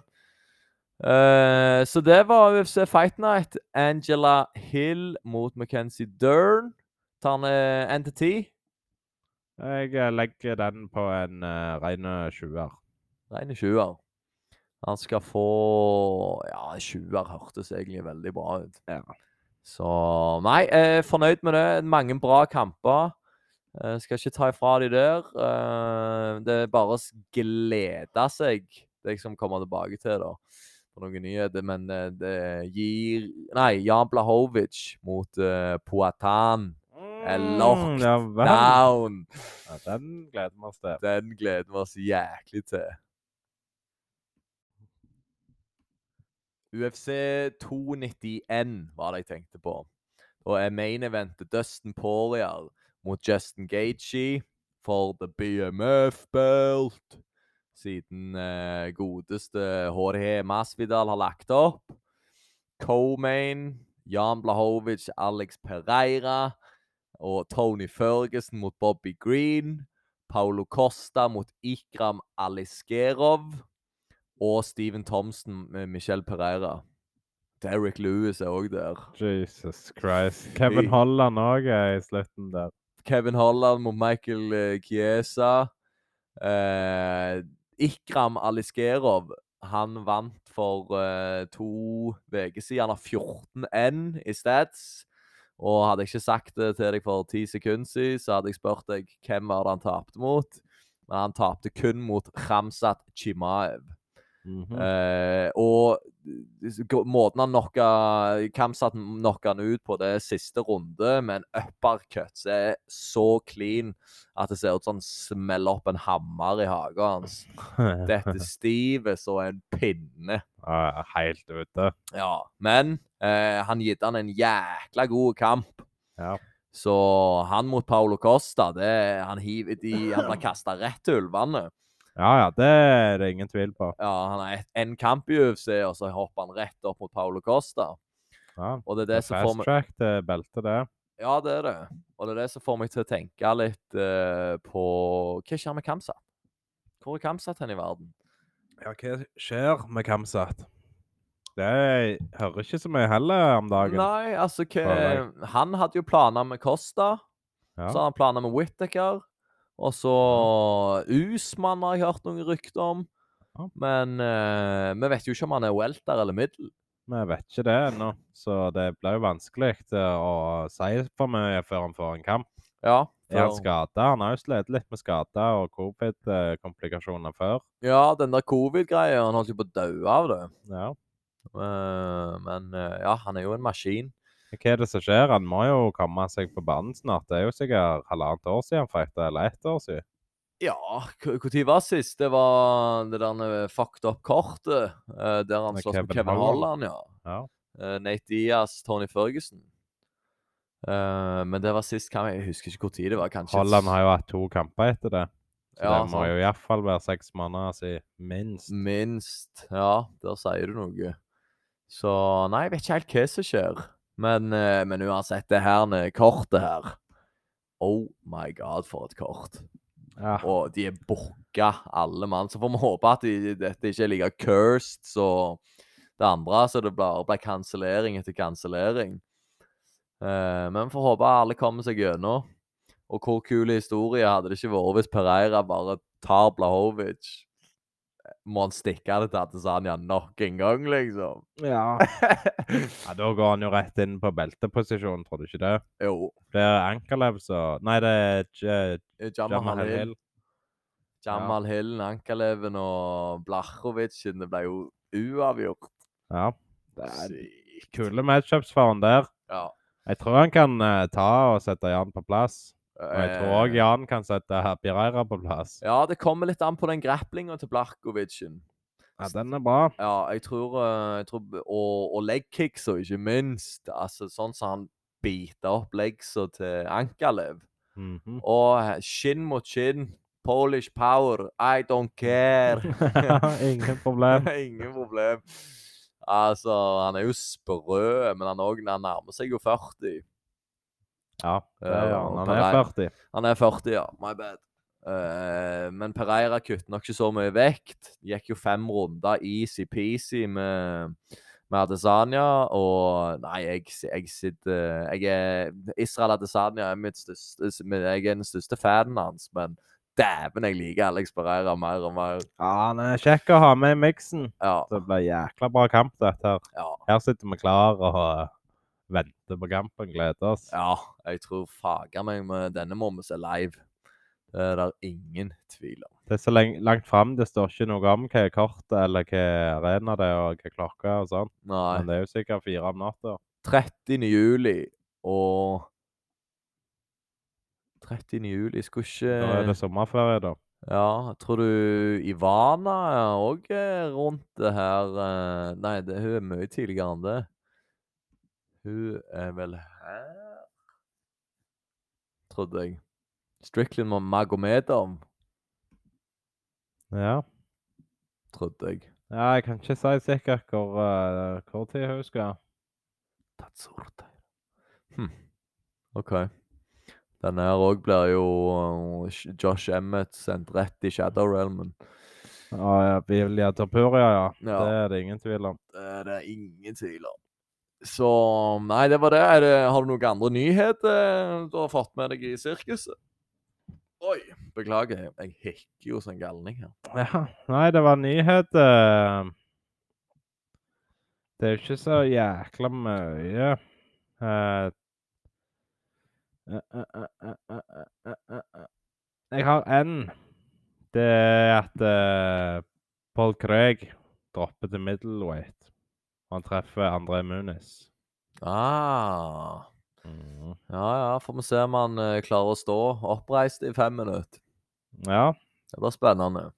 Speaker 1: Eh, så det var UFC Fight Night. Angela Hill mot Mackenzie Dern. Tar han eh, NTT?
Speaker 2: Jeg eh, legger den på en uh, rein 20-er.
Speaker 1: Reine 20-er. Han skal få Ja, 20-er hørtes egentlig veldig bra ut.
Speaker 2: Ja.
Speaker 1: Så Nei, jeg er fornøyd med det. Mange bra kamper. Eh, skal ikke ta ifra de der. Eh, det er bare å s- glede seg, det jeg skal komme tilbake til, da. På noen nyheter, men eh, det gir Nei, Jan Blahovic mot eh, Poatan. locked
Speaker 2: Mm, ja, vel.
Speaker 1: Down!
Speaker 2: Ja, den gleder vi oss til.
Speaker 1: Den gleder vi oss jæklig til. UFC 291 var det jeg tenkte på. Og er main eventet Dustin Poirier mot Justin Gaethje for the BMF-belt. Siden eh, godeste HDH Masvidal har lagt opp. Co-main Jan Blahovic, Alex Pereira og Tony Ferguson mot Bobby Green. Paulo Costa mot Ikram Aliskerov. Og Steven Thompson med Michel Pereira. Derek Lewis er òg der.
Speaker 2: Jesus Christ. Kevin Holland òg er i slutten der.
Speaker 1: Kevin Holland mot Michael eh, Chiesa. Eh, Ikram Aliskerov han vant for eh, to uker siden. Han har 14-1 i stats. Og hadde jeg ikke sagt det til deg for ti sekunder siden, så hadde jeg spurt deg hvem var det han tapte mot. Men han tapte kun mot Ramzat Chimaev.
Speaker 2: Mhm.
Speaker 1: Eh, og s- gå- måten han knocka Kamsat knocka han ut på, det er siste runde med en uppercut som er så clean at det ser ut som han smeller opp en hammer i hagen hans. Dette stivet som en pinne.
Speaker 2: Eh, Ja, Helt ute.
Speaker 1: Ja, men eh, han gitt han en jækla god kamp.
Speaker 2: Ja.
Speaker 1: Så han mot Paulo Costa, det, han, hiver de, han blir kasta rett til ulvene.
Speaker 2: ja ja, det er det ingen tvil på.
Speaker 1: Ja, han har ett- en kamp i UFC, og så hopper han rett opp mot Paulo Costa.
Speaker 2: Ja.
Speaker 1: Og det er
Speaker 2: Det
Speaker 1: det
Speaker 2: er
Speaker 1: som får
Speaker 2: fast
Speaker 1: meg
Speaker 2: track til beltet, det.
Speaker 1: Ja, det er det. Og det er det som får meg til å tenke litt eh, på Hva skjer med Kamsat? Hvor er Kamsat hen i verden?
Speaker 2: Ja, hva skjer med Kamsat? Det hører ikke så mye heller om dagen.
Speaker 1: Nei, altså
Speaker 2: Bare
Speaker 1: hva Han hadde jo planer med Costa.
Speaker 2: Ja.
Speaker 1: Så hadde han planer med Whittaker. Og så Usman har jeg hørt noen rykter om.
Speaker 2: Mhm. Ja.
Speaker 1: Men eh, vi vet jo ikke om han er welter eller middel.
Speaker 2: Vi vet ikke det ennå, så det blir jo vanskelig eh, å si for mye før han får en kamp.
Speaker 1: Ja,
Speaker 2: Er han
Speaker 1: for-
Speaker 2: skada? Han har jo slitt litt med skader og covid-komplikasjoner før.
Speaker 1: ja den der covid-greia. Han holdt jo på å daue av det.
Speaker 2: Ja.
Speaker 1: Eh, men eh, ja, han er jo en maskin.
Speaker 2: Hva er det som skjer? Han må jo komme seg på banen snart. Det er jo sikkert halvannet år siden han fighta, eller ett år siden.
Speaker 1: Ja, når var sist? Det var det der eh, fucked up-kortet. eh, der han
Speaker 2: Med
Speaker 1: slåss med
Speaker 2: Kevin
Speaker 1: Kevin
Speaker 2: Holland.
Speaker 1: Holland, ja.
Speaker 2: Ja.
Speaker 1: Eh, Nate Diaz, Tony Ferguson. Eh, men det var sist kamp. Jeg husker ikke når det var. kanskje...
Speaker 2: Holland har jo hatt to kamper etter det. Så
Speaker 1: Ja, sånn
Speaker 2: det må
Speaker 1: sant. Mm.
Speaker 2: jo iallfall være seks måneder siden, minst.
Speaker 1: Minst. Ja, der sier du noe. Så nei, jeg vet ikke helt hva som skjer. Men, eh, men uansett, det her nede, kortet her Oh my god, for et kort.
Speaker 2: Ja.
Speaker 1: Og de er booka, alle mann. Så får vi håpe at de, dette ikke er like cursed som det andre, så det bare blir kansellering etter kansellering. Eh, men vi får håpe alle kommer seg gjennom. Og hvor kul historie hadde det ikke vært hvis Pereira bare tar Blahovic? Må han stikke det til Adesanya nok en gang, liksom?
Speaker 2: Ja. ja, da går han jo rett inn på belteposisjon, tror du ikke det?
Speaker 1: jo.
Speaker 2: Det er Ankerlev som Nei, det er J-
Speaker 1: Jamal
Speaker 2: Jamal
Speaker 1: Hill,
Speaker 2: Hill.
Speaker 1: Jamal Hill Ankaleven og Blachowicz Det ble jo uavgjort.
Speaker 2: Ja.
Speaker 1: Sykt.
Speaker 2: Kule matchups for han der.
Speaker 1: Ja.
Speaker 2: Jeg tror han kan eh, ta og sette Jan på plass. Og jeg tror
Speaker 1: Eh,
Speaker 2: òg Jan kan sette Pireira på plass.
Speaker 1: Ja, det kommer litt an på den grapplinga til Blachowiczen.
Speaker 2: Ja, den er bra.
Speaker 1: Ja, jeg tror, eh, jeg tror b- Og, og legkicks, og ikke minst. Altså, sånn som han biter opp leggsa til Ankalev.
Speaker 2: Mhm.
Speaker 1: Og he- skinn mot skinn. Polish power. I don't care.
Speaker 2: Ingen problem.
Speaker 1: Ingen problem. Altså, han er jo sprø, men han, er også, han nærmer seg jo 40.
Speaker 2: Ja, det
Speaker 1: Ja,
Speaker 2: er han. Han
Speaker 1: Pereira.
Speaker 2: er 40.
Speaker 1: Han er 40, ja. My bad. Eh, men Pereira kutter nok ikke så mye vekt. Gikk jo fem runder easy-peasy med, med Adesanya, og Nei, jeg, s- jeg sitter jeg er, Israel Adesanya er mitt største men Jeg er den største fanen hans, men dæven, jeg liker Alex Pereira mer og mer.
Speaker 2: Ja, han er kjekk å ha med i miksen.
Speaker 1: Ja.
Speaker 2: Det blir jækla bra kamp, dette her.
Speaker 1: ja.
Speaker 2: Her sitter vi klar og eh, venter på kampen. Gleder oss.
Speaker 1: Ja, jeg tror faga meg med denne må vi se live. Det er der ingen tvil om.
Speaker 2: Det er så leng- langt fram. Det står ikke noe om hva kortet eller hva arena det er, og hva klokka og sånn.
Speaker 1: Nei.
Speaker 2: Men det er jo sikkert fire om natta.
Speaker 1: 30. juli og 30. juli, skulle
Speaker 2: Da er
Speaker 1: ikke
Speaker 2: det sommerferie, da.
Speaker 1: Ja, tror du Ivana er òg rundt det her eh, Nei, det, hun er mye tidligere enn det. Hun er vel her Trodde jeg. Strickland og Magomedov,
Speaker 2: Ja.
Speaker 1: trodde jeg.
Speaker 2: ja jeg kan ikke si sikkert hvor, eh, hvor tid hun skal.
Speaker 1: Tatsorte. Hm. OK. Denne her òg blir jo eh, Sh- Josh Emmett sendt rett i Shadow Realmen.
Speaker 2: Ah, ja, Vilja Tapuria, ja.
Speaker 1: Ja.
Speaker 2: Det er det ingen tvil om.
Speaker 1: Det er det ingen tvil om. Så Nei, det var det. Er det har du noen andre nyheter eh, du har fått med deg i sirkuset? Oi, beklager. jeg- Jeg hikker jo som en galning her.
Speaker 2: Ja. Nei, det var nyheter. Det er jo ikke så jækla mye Eh, eh, eh, eh, eh, eh, eh, eh. Jeg har én. Det er at eh, Paul Craig dropper til middleweight. Han treffer André Muniz. Mm,
Speaker 1: Ah. Ja, ja. Får vi se om han eh, klarer å stå oppreist i fem minutter.
Speaker 2: Ja.
Speaker 1: Det blir spennende.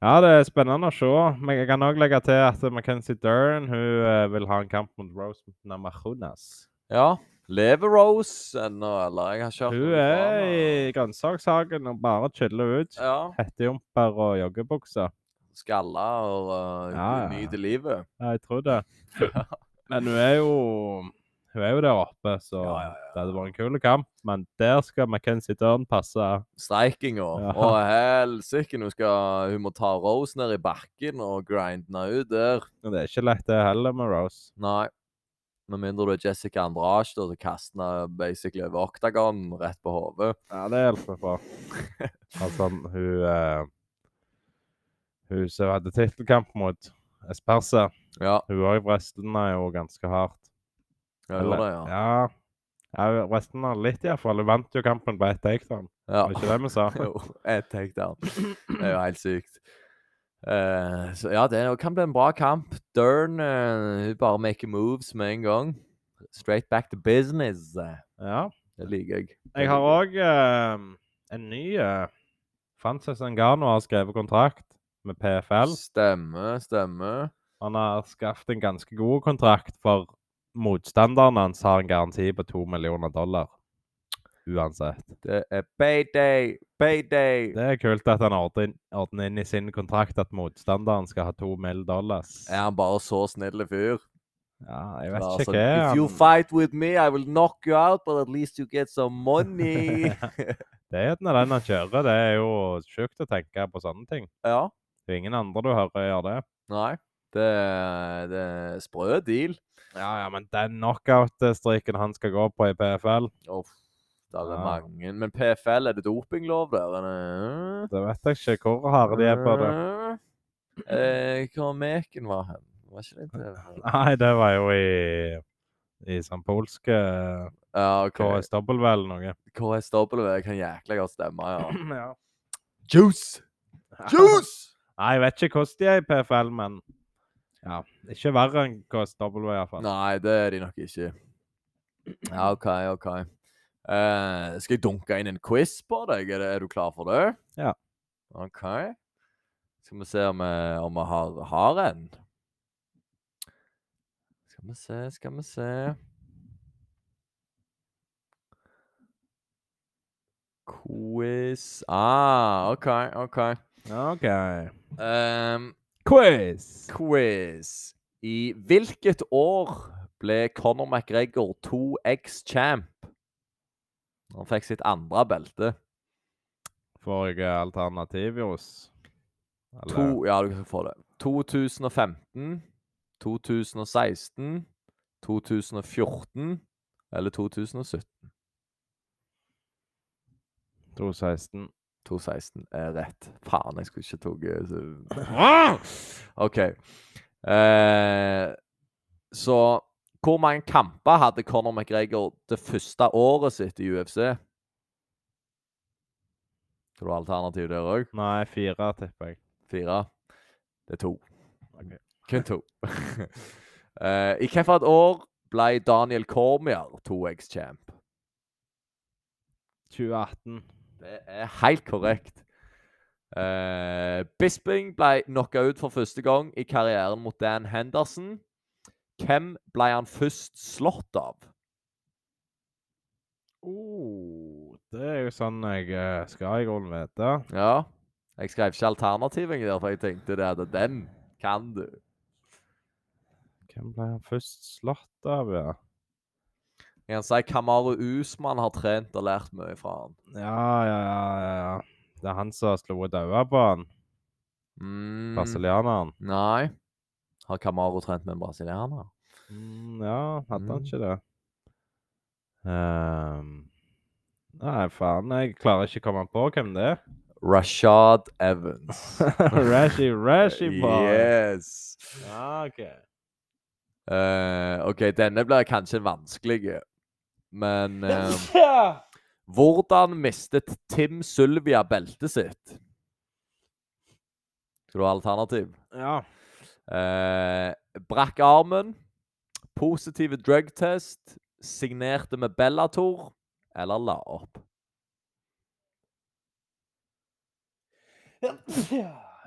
Speaker 2: Ja, det er spennende å se. Men jeg kan òg legge til at Mackenzie Dern hun eh, vil ha en kamp mot Rose Namajunas.
Speaker 1: Ja. Lever Rose ennå, eller? Jeg har ikke hørt
Speaker 2: Hun
Speaker 1: noe fra
Speaker 2: er
Speaker 1: henne.
Speaker 2: i grønnsakshagen og bare chiller ut.
Speaker 1: Ja.
Speaker 2: Hettejumper og joggebukser.
Speaker 1: Skalla og uh,
Speaker 2: Ja, ja.
Speaker 1: nyter livet.
Speaker 2: Ja, jeg tror det. Men hun er jo hun er jo der oppe, så
Speaker 1: Ja, ja, ja.
Speaker 2: det hadde vært en kul kamp. Men der skal Mackenzie Dern passe.
Speaker 1: streikinga.
Speaker 2: Ja.
Speaker 1: Og helsike, hun, skal- hun må ta Rose ned i bakken og grinde henne ut der.
Speaker 2: Og det er ikke lett, det heller, med Rose.
Speaker 1: Nei. Med mindre du er Jessica Andrage, da, så kaster hun basically over oktagon rett på hodet.
Speaker 2: Ja, det hjelper på. Altså, hun eh, Hun som hadde tittelkamp mot Espersa,
Speaker 1: Ja,
Speaker 2: hun òg wrestla jo ganske hardt.
Speaker 1: jeg gjorde det, ja.
Speaker 2: ja. Ja, wrestla litt, iallfall. Hun vant jo kampen på ett takedown.
Speaker 1: ja.
Speaker 2: Var det ikke det vi sa?
Speaker 1: Jo, et takedown. Det er jo helt sykt. Eh, så ja, det kan bli en bra kamp. Dern eh, hun bare maker moves med en gang. Straight back to business. Det
Speaker 2: Ja.
Speaker 1: liker jeg.
Speaker 2: Jeg har òg en ny uh, Frances Ngannou har skrevet kontrakt med PFL.
Speaker 1: Stemmer, stemmer.
Speaker 2: Han har skaffet en ganske god kontrakt, for motstanderen hans har en garanti på to millioner dollar. Uansett.
Speaker 1: Det er payday, payday.
Speaker 2: Det er kult at han ordner inn- ordner inn i sin kontrakt at motstanderen skal ha to mill. dollars.
Speaker 1: Er han bare så snill fyr?
Speaker 2: Ja, altså, jeg
Speaker 1: Bare
Speaker 2: vet ikke
Speaker 1: sånn,
Speaker 2: hva
Speaker 1: If you
Speaker 2: han
Speaker 1: fight with me, I will knock you out, but at least you get some money.
Speaker 2: Det er gjerne den han kjører. Det er jo sjukt å tenke på sånne ting.
Speaker 1: ja.
Speaker 2: Det er ingen andre du hører gjør det.
Speaker 1: Nei. Det, det er sprø deal.
Speaker 2: Ja, ja, men den knockout-striken han skal gå på i PFL
Speaker 1: Uff. Der er
Speaker 2: Ja.
Speaker 1: mange. Men PFL, er det dopinglov der? eller?
Speaker 2: Det vet jeg ikke hvor harde de er på det.
Speaker 1: Eh, Hvor Meken var hen? Var ikke det det?
Speaker 2: Nei, det var jo i, i sånn polske
Speaker 1: Ja, OK.
Speaker 2: KSW eller noe.
Speaker 1: KSW kan jækla godt stemme, ja.
Speaker 2: Ja.
Speaker 1: Juice! Juice!
Speaker 2: Nei, jeg vet ikke hvordan de er i PFL, men ja, ikke verre enn KSW iallfall.
Speaker 1: Nei, det er de nok ikke. Ja, OK, OK. Eh, skal jeg dunke inn en quiz på deg? Er, det, er du klar for det?
Speaker 2: Ja.
Speaker 1: OK. Skal vi se om vi, om vi har, har en. Skal vi se, skal vi se Quiz Ah, OK, OK.
Speaker 2: OK.
Speaker 1: Ehm,
Speaker 2: Quiz!
Speaker 1: quiz. I hvilket år ble Conor McGregor 2X-champ? Han fikk sitt andre belte.
Speaker 2: Får jeg alternativjus? Eller
Speaker 1: To, ja, du kan få det. 2015, 2016, 2014 eller 2017?
Speaker 2: 216?
Speaker 1: 2016 er rett. Faen, jeg skulle ikke tatt eh,
Speaker 2: Ah!
Speaker 1: OK. Eh, så hvor mange kamper hadde Conor McGregor det første året sitt i UFC? Skal du ha alternativ der òg?
Speaker 2: Nei, fire, tipper jeg.
Speaker 1: Fire? Det er to.
Speaker 2: Ok.
Speaker 1: Kun to. eh, I hvilket år ble Daniel Cormier 2X-champ?
Speaker 2: 2018.
Speaker 1: Det er helt korrekt. Eh, Bisping ble knocka ut for første gang i karrieren mot Dan Henderson. Hvem ble han først slått av?
Speaker 2: Oh, det er jo sånn jeg eh, skal i grunnen vite.
Speaker 1: Ja, jeg skrev ikke alternativet der, for jeg tenkte det at den kan du.
Speaker 2: Hvem ble han først slått av, ja?
Speaker 1: Jeg kan si Kamaru Usman har trent og lært mye fra han.
Speaker 2: Ja, ja, ja. ja, ja. Det er han som slo daua på han,
Speaker 1: Mm,
Speaker 2: brasilianeren.
Speaker 1: Nei. Har Kamaru trent med en brasilianer?
Speaker 2: Mm, ja, hadde
Speaker 1: Mm.
Speaker 2: han ikke det? Ehm, nei, faen. Jeg klarer ikke å komme på hvem det er.
Speaker 1: Rashad Evans.
Speaker 2: Rashi, Rashi, boy.
Speaker 1: Yes.
Speaker 2: Ja, Ah, OK.
Speaker 1: Eh, OK, denne blir kanskje vanskelig, men
Speaker 2: Ehm.
Speaker 1: eh,
Speaker 2: Ja.
Speaker 1: Hvordan mistet Tim Sylvia beltet sitt? Skal du ha alternativ?
Speaker 2: ja.
Speaker 1: Eh, brakk armen. Positive drug test. Signerte med Bellator. Eller la opp.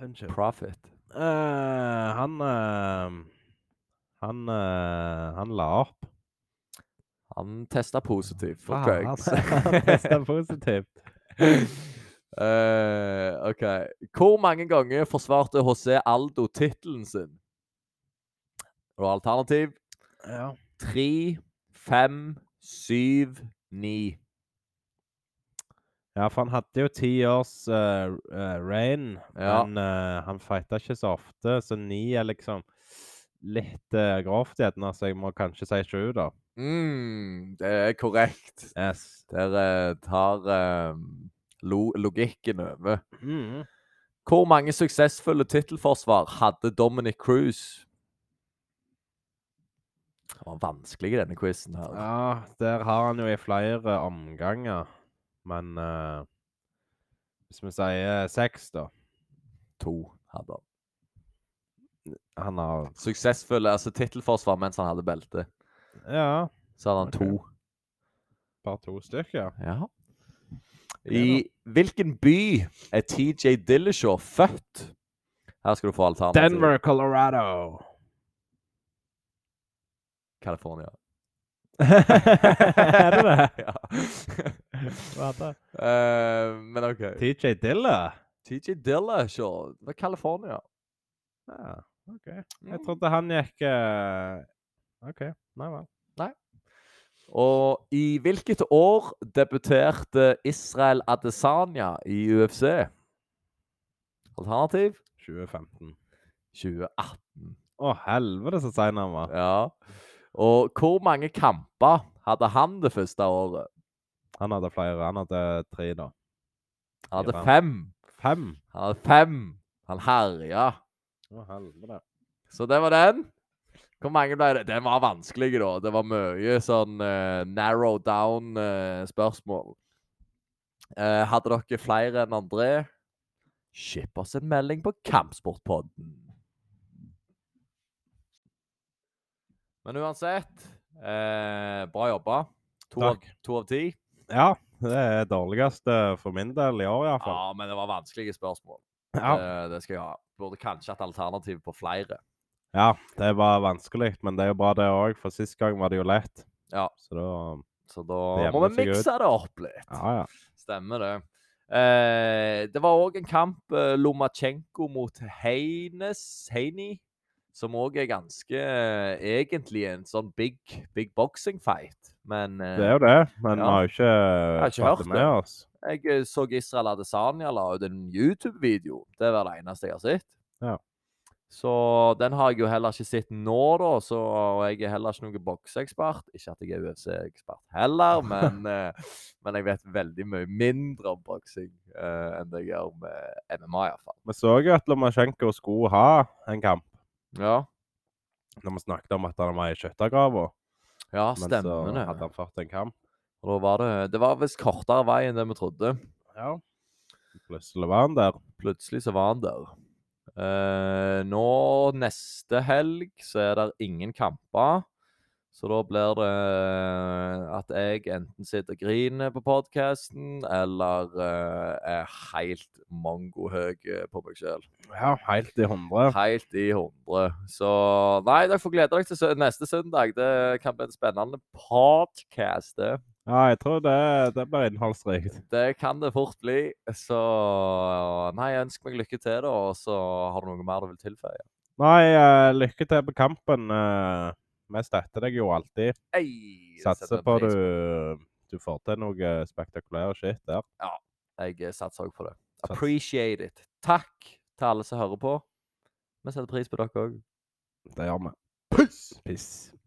Speaker 2: Unnskyld.
Speaker 1: Profit.
Speaker 2: Eh, han eh, Han eh, han la opp.
Speaker 1: Han testa positivt for
Speaker 2: Faen, altså.
Speaker 1: drugs.
Speaker 2: han- han testet positivt.
Speaker 1: Eh, OK. Hvor mange ganger forsvarte HC Aldo tittelen sin? Og alternativ
Speaker 2: Ja.
Speaker 1: tre, fem, syv, ni.
Speaker 2: Ja, for han hadde jo ti års eh, r- eh, reign,
Speaker 1: Ja.
Speaker 2: men eh, han fighta ikke så ofte, så ni er liksom litt eh, grovt gjerne, så jeg må kanskje si sju, da.
Speaker 1: Mm, det er korrekt.
Speaker 2: Yes.
Speaker 1: Der eh, tar eh, lo logikken over.
Speaker 2: Mm.
Speaker 1: Hvor mange suksessfulle tittelforsvar hadde Dominic Cruise? Det var vanskelig, denne quizen her.
Speaker 2: Ja, der har han jo i flere omganger, men eh, hvis vi sier seks, da
Speaker 1: To hadde han.
Speaker 2: Han har
Speaker 1: Suksessfulle, altså tittelforsvar mens han hadde belte.
Speaker 2: Ja,
Speaker 1: Så hadde han
Speaker 2: Ok.
Speaker 1: to.
Speaker 2: bare to stykker.
Speaker 1: Ja.
Speaker 2: Det da.
Speaker 1: I hvilken by er TJ Dillashaw født? Her skal du få alternativ.
Speaker 2: Denver, Colorado.
Speaker 1: California.
Speaker 2: er det det?
Speaker 1: ja.
Speaker 2: Hva da?
Speaker 1: Eh, men OK.
Speaker 2: TJ Dilla?
Speaker 1: TJ Dillashaw fra California.
Speaker 2: Ja, OK. Jeg trodde han gikk eh, OK. Nei vel.
Speaker 1: Og i hvilket år debuterte Israel Adesanya i UFC? Alternativ
Speaker 2: 2015.
Speaker 1: 2018.
Speaker 2: Å, helvete så sein han var.
Speaker 1: Ja. Og hvor mange kamper hadde han det første året?
Speaker 2: Han hadde flere. Han hadde tre, da.
Speaker 1: Han hadde
Speaker 2: Fire.
Speaker 1: fem.
Speaker 2: Fem.
Speaker 1: Han hadde fem. Han herja.
Speaker 2: Å, helvete.
Speaker 1: Så det var den. Hvor mange ble det? Den var vanskelig, da. Det var mye sånn eh, narrow down-spørsmål. Eh, hadde dere flere enn André, ship oss en melding på Kampsportpodden. Men uansett, eh, bra jobba. To av,
Speaker 2: Takk.
Speaker 1: to av ti.
Speaker 2: Ja, det er dårligste for min del i år, iallfall.
Speaker 1: Ja, men det var vanskelige spørsmål.
Speaker 2: Ja.
Speaker 1: Eh, det skal jeg ha. Burde kanskje hatt alternativ på flere.
Speaker 2: ja, det var vanskelig, men det er jo bra, det òg, for sist gang var det jo lett.
Speaker 1: Ja.
Speaker 2: Så da
Speaker 1: Så da
Speaker 2: Det
Speaker 1: må vi
Speaker 2: jevner seg ut.
Speaker 1: mikse det opp litt.
Speaker 2: Ja, ja.
Speaker 1: Stemmer det. Eh, det var òg en kamp, eh, Lomachenko mot Heines, Heini, som òg er ganske eh, Egentlig en sånn big, big boxing fight, men eh,
Speaker 2: Det er jo det,
Speaker 1: Ja.
Speaker 2: men vi har jo ikke,
Speaker 1: har ikke
Speaker 2: fått
Speaker 1: hørt
Speaker 2: det med
Speaker 1: det.
Speaker 2: oss.
Speaker 1: jeg eh, så Israel Adesanya la ut en YouTube-video. Det var det eneste jeg har sett.
Speaker 2: Ja.
Speaker 1: Så den har jeg jo heller ikke sett nå, da, så og jeg er heller ikke noen bokseekspert. Ikke at jeg er UFC-ekspert heller, men, eh, men jeg vet veldig mye mindre om boksing eh, enn det jeg gjør med MMA, iallfall.
Speaker 2: Vi så jo at Lomasjenko skulle ha en kamp,
Speaker 1: Ja.
Speaker 2: når vi snakket om at han var i skyttergrava.
Speaker 1: ja,
Speaker 2: Men så
Speaker 1: stemmer
Speaker 2: hadde
Speaker 1: det.
Speaker 2: han fått en kamp.
Speaker 1: Og da var det, det var visst kortere vei enn det vi trodde.
Speaker 2: Ja. Plutselig var han der.
Speaker 1: plutselig så var han der. Eh, nå neste helg så er det ingen kamper. Så da blir det eh, at jeg enten sitter og griner på podkasten, eller eh, er helt mongohøy eh, på meg sjøl.
Speaker 2: Ja, helt i hundre.
Speaker 1: Helt i hundre. Så nei, dere får glede dere til sø- neste søndag. Det kan bli en spennende podkast, det.
Speaker 2: Ja, jeg tror det, det blir innholdsrikt.
Speaker 1: Det kan det fort bli. Så nei, ønsk meg lykke til, da. Og så har du noe mer du vil tilføye.
Speaker 2: Nei, eh, lykke til på kampen. eh. Vi støtter deg jo alltid.
Speaker 1: Ei, det setter
Speaker 2: Satser
Speaker 1: jeg
Speaker 2: på
Speaker 1: pris
Speaker 2: du, du får til noe eh, spektakulære shit der.
Speaker 1: Jeg eh, satser òg på det.
Speaker 2: Sats.
Speaker 1: Appreciate it. Takk til alle som hører på. Vi setter pris på dere òg.
Speaker 2: Det gjør vi.
Speaker 1: Peace!
Speaker 2: Peace.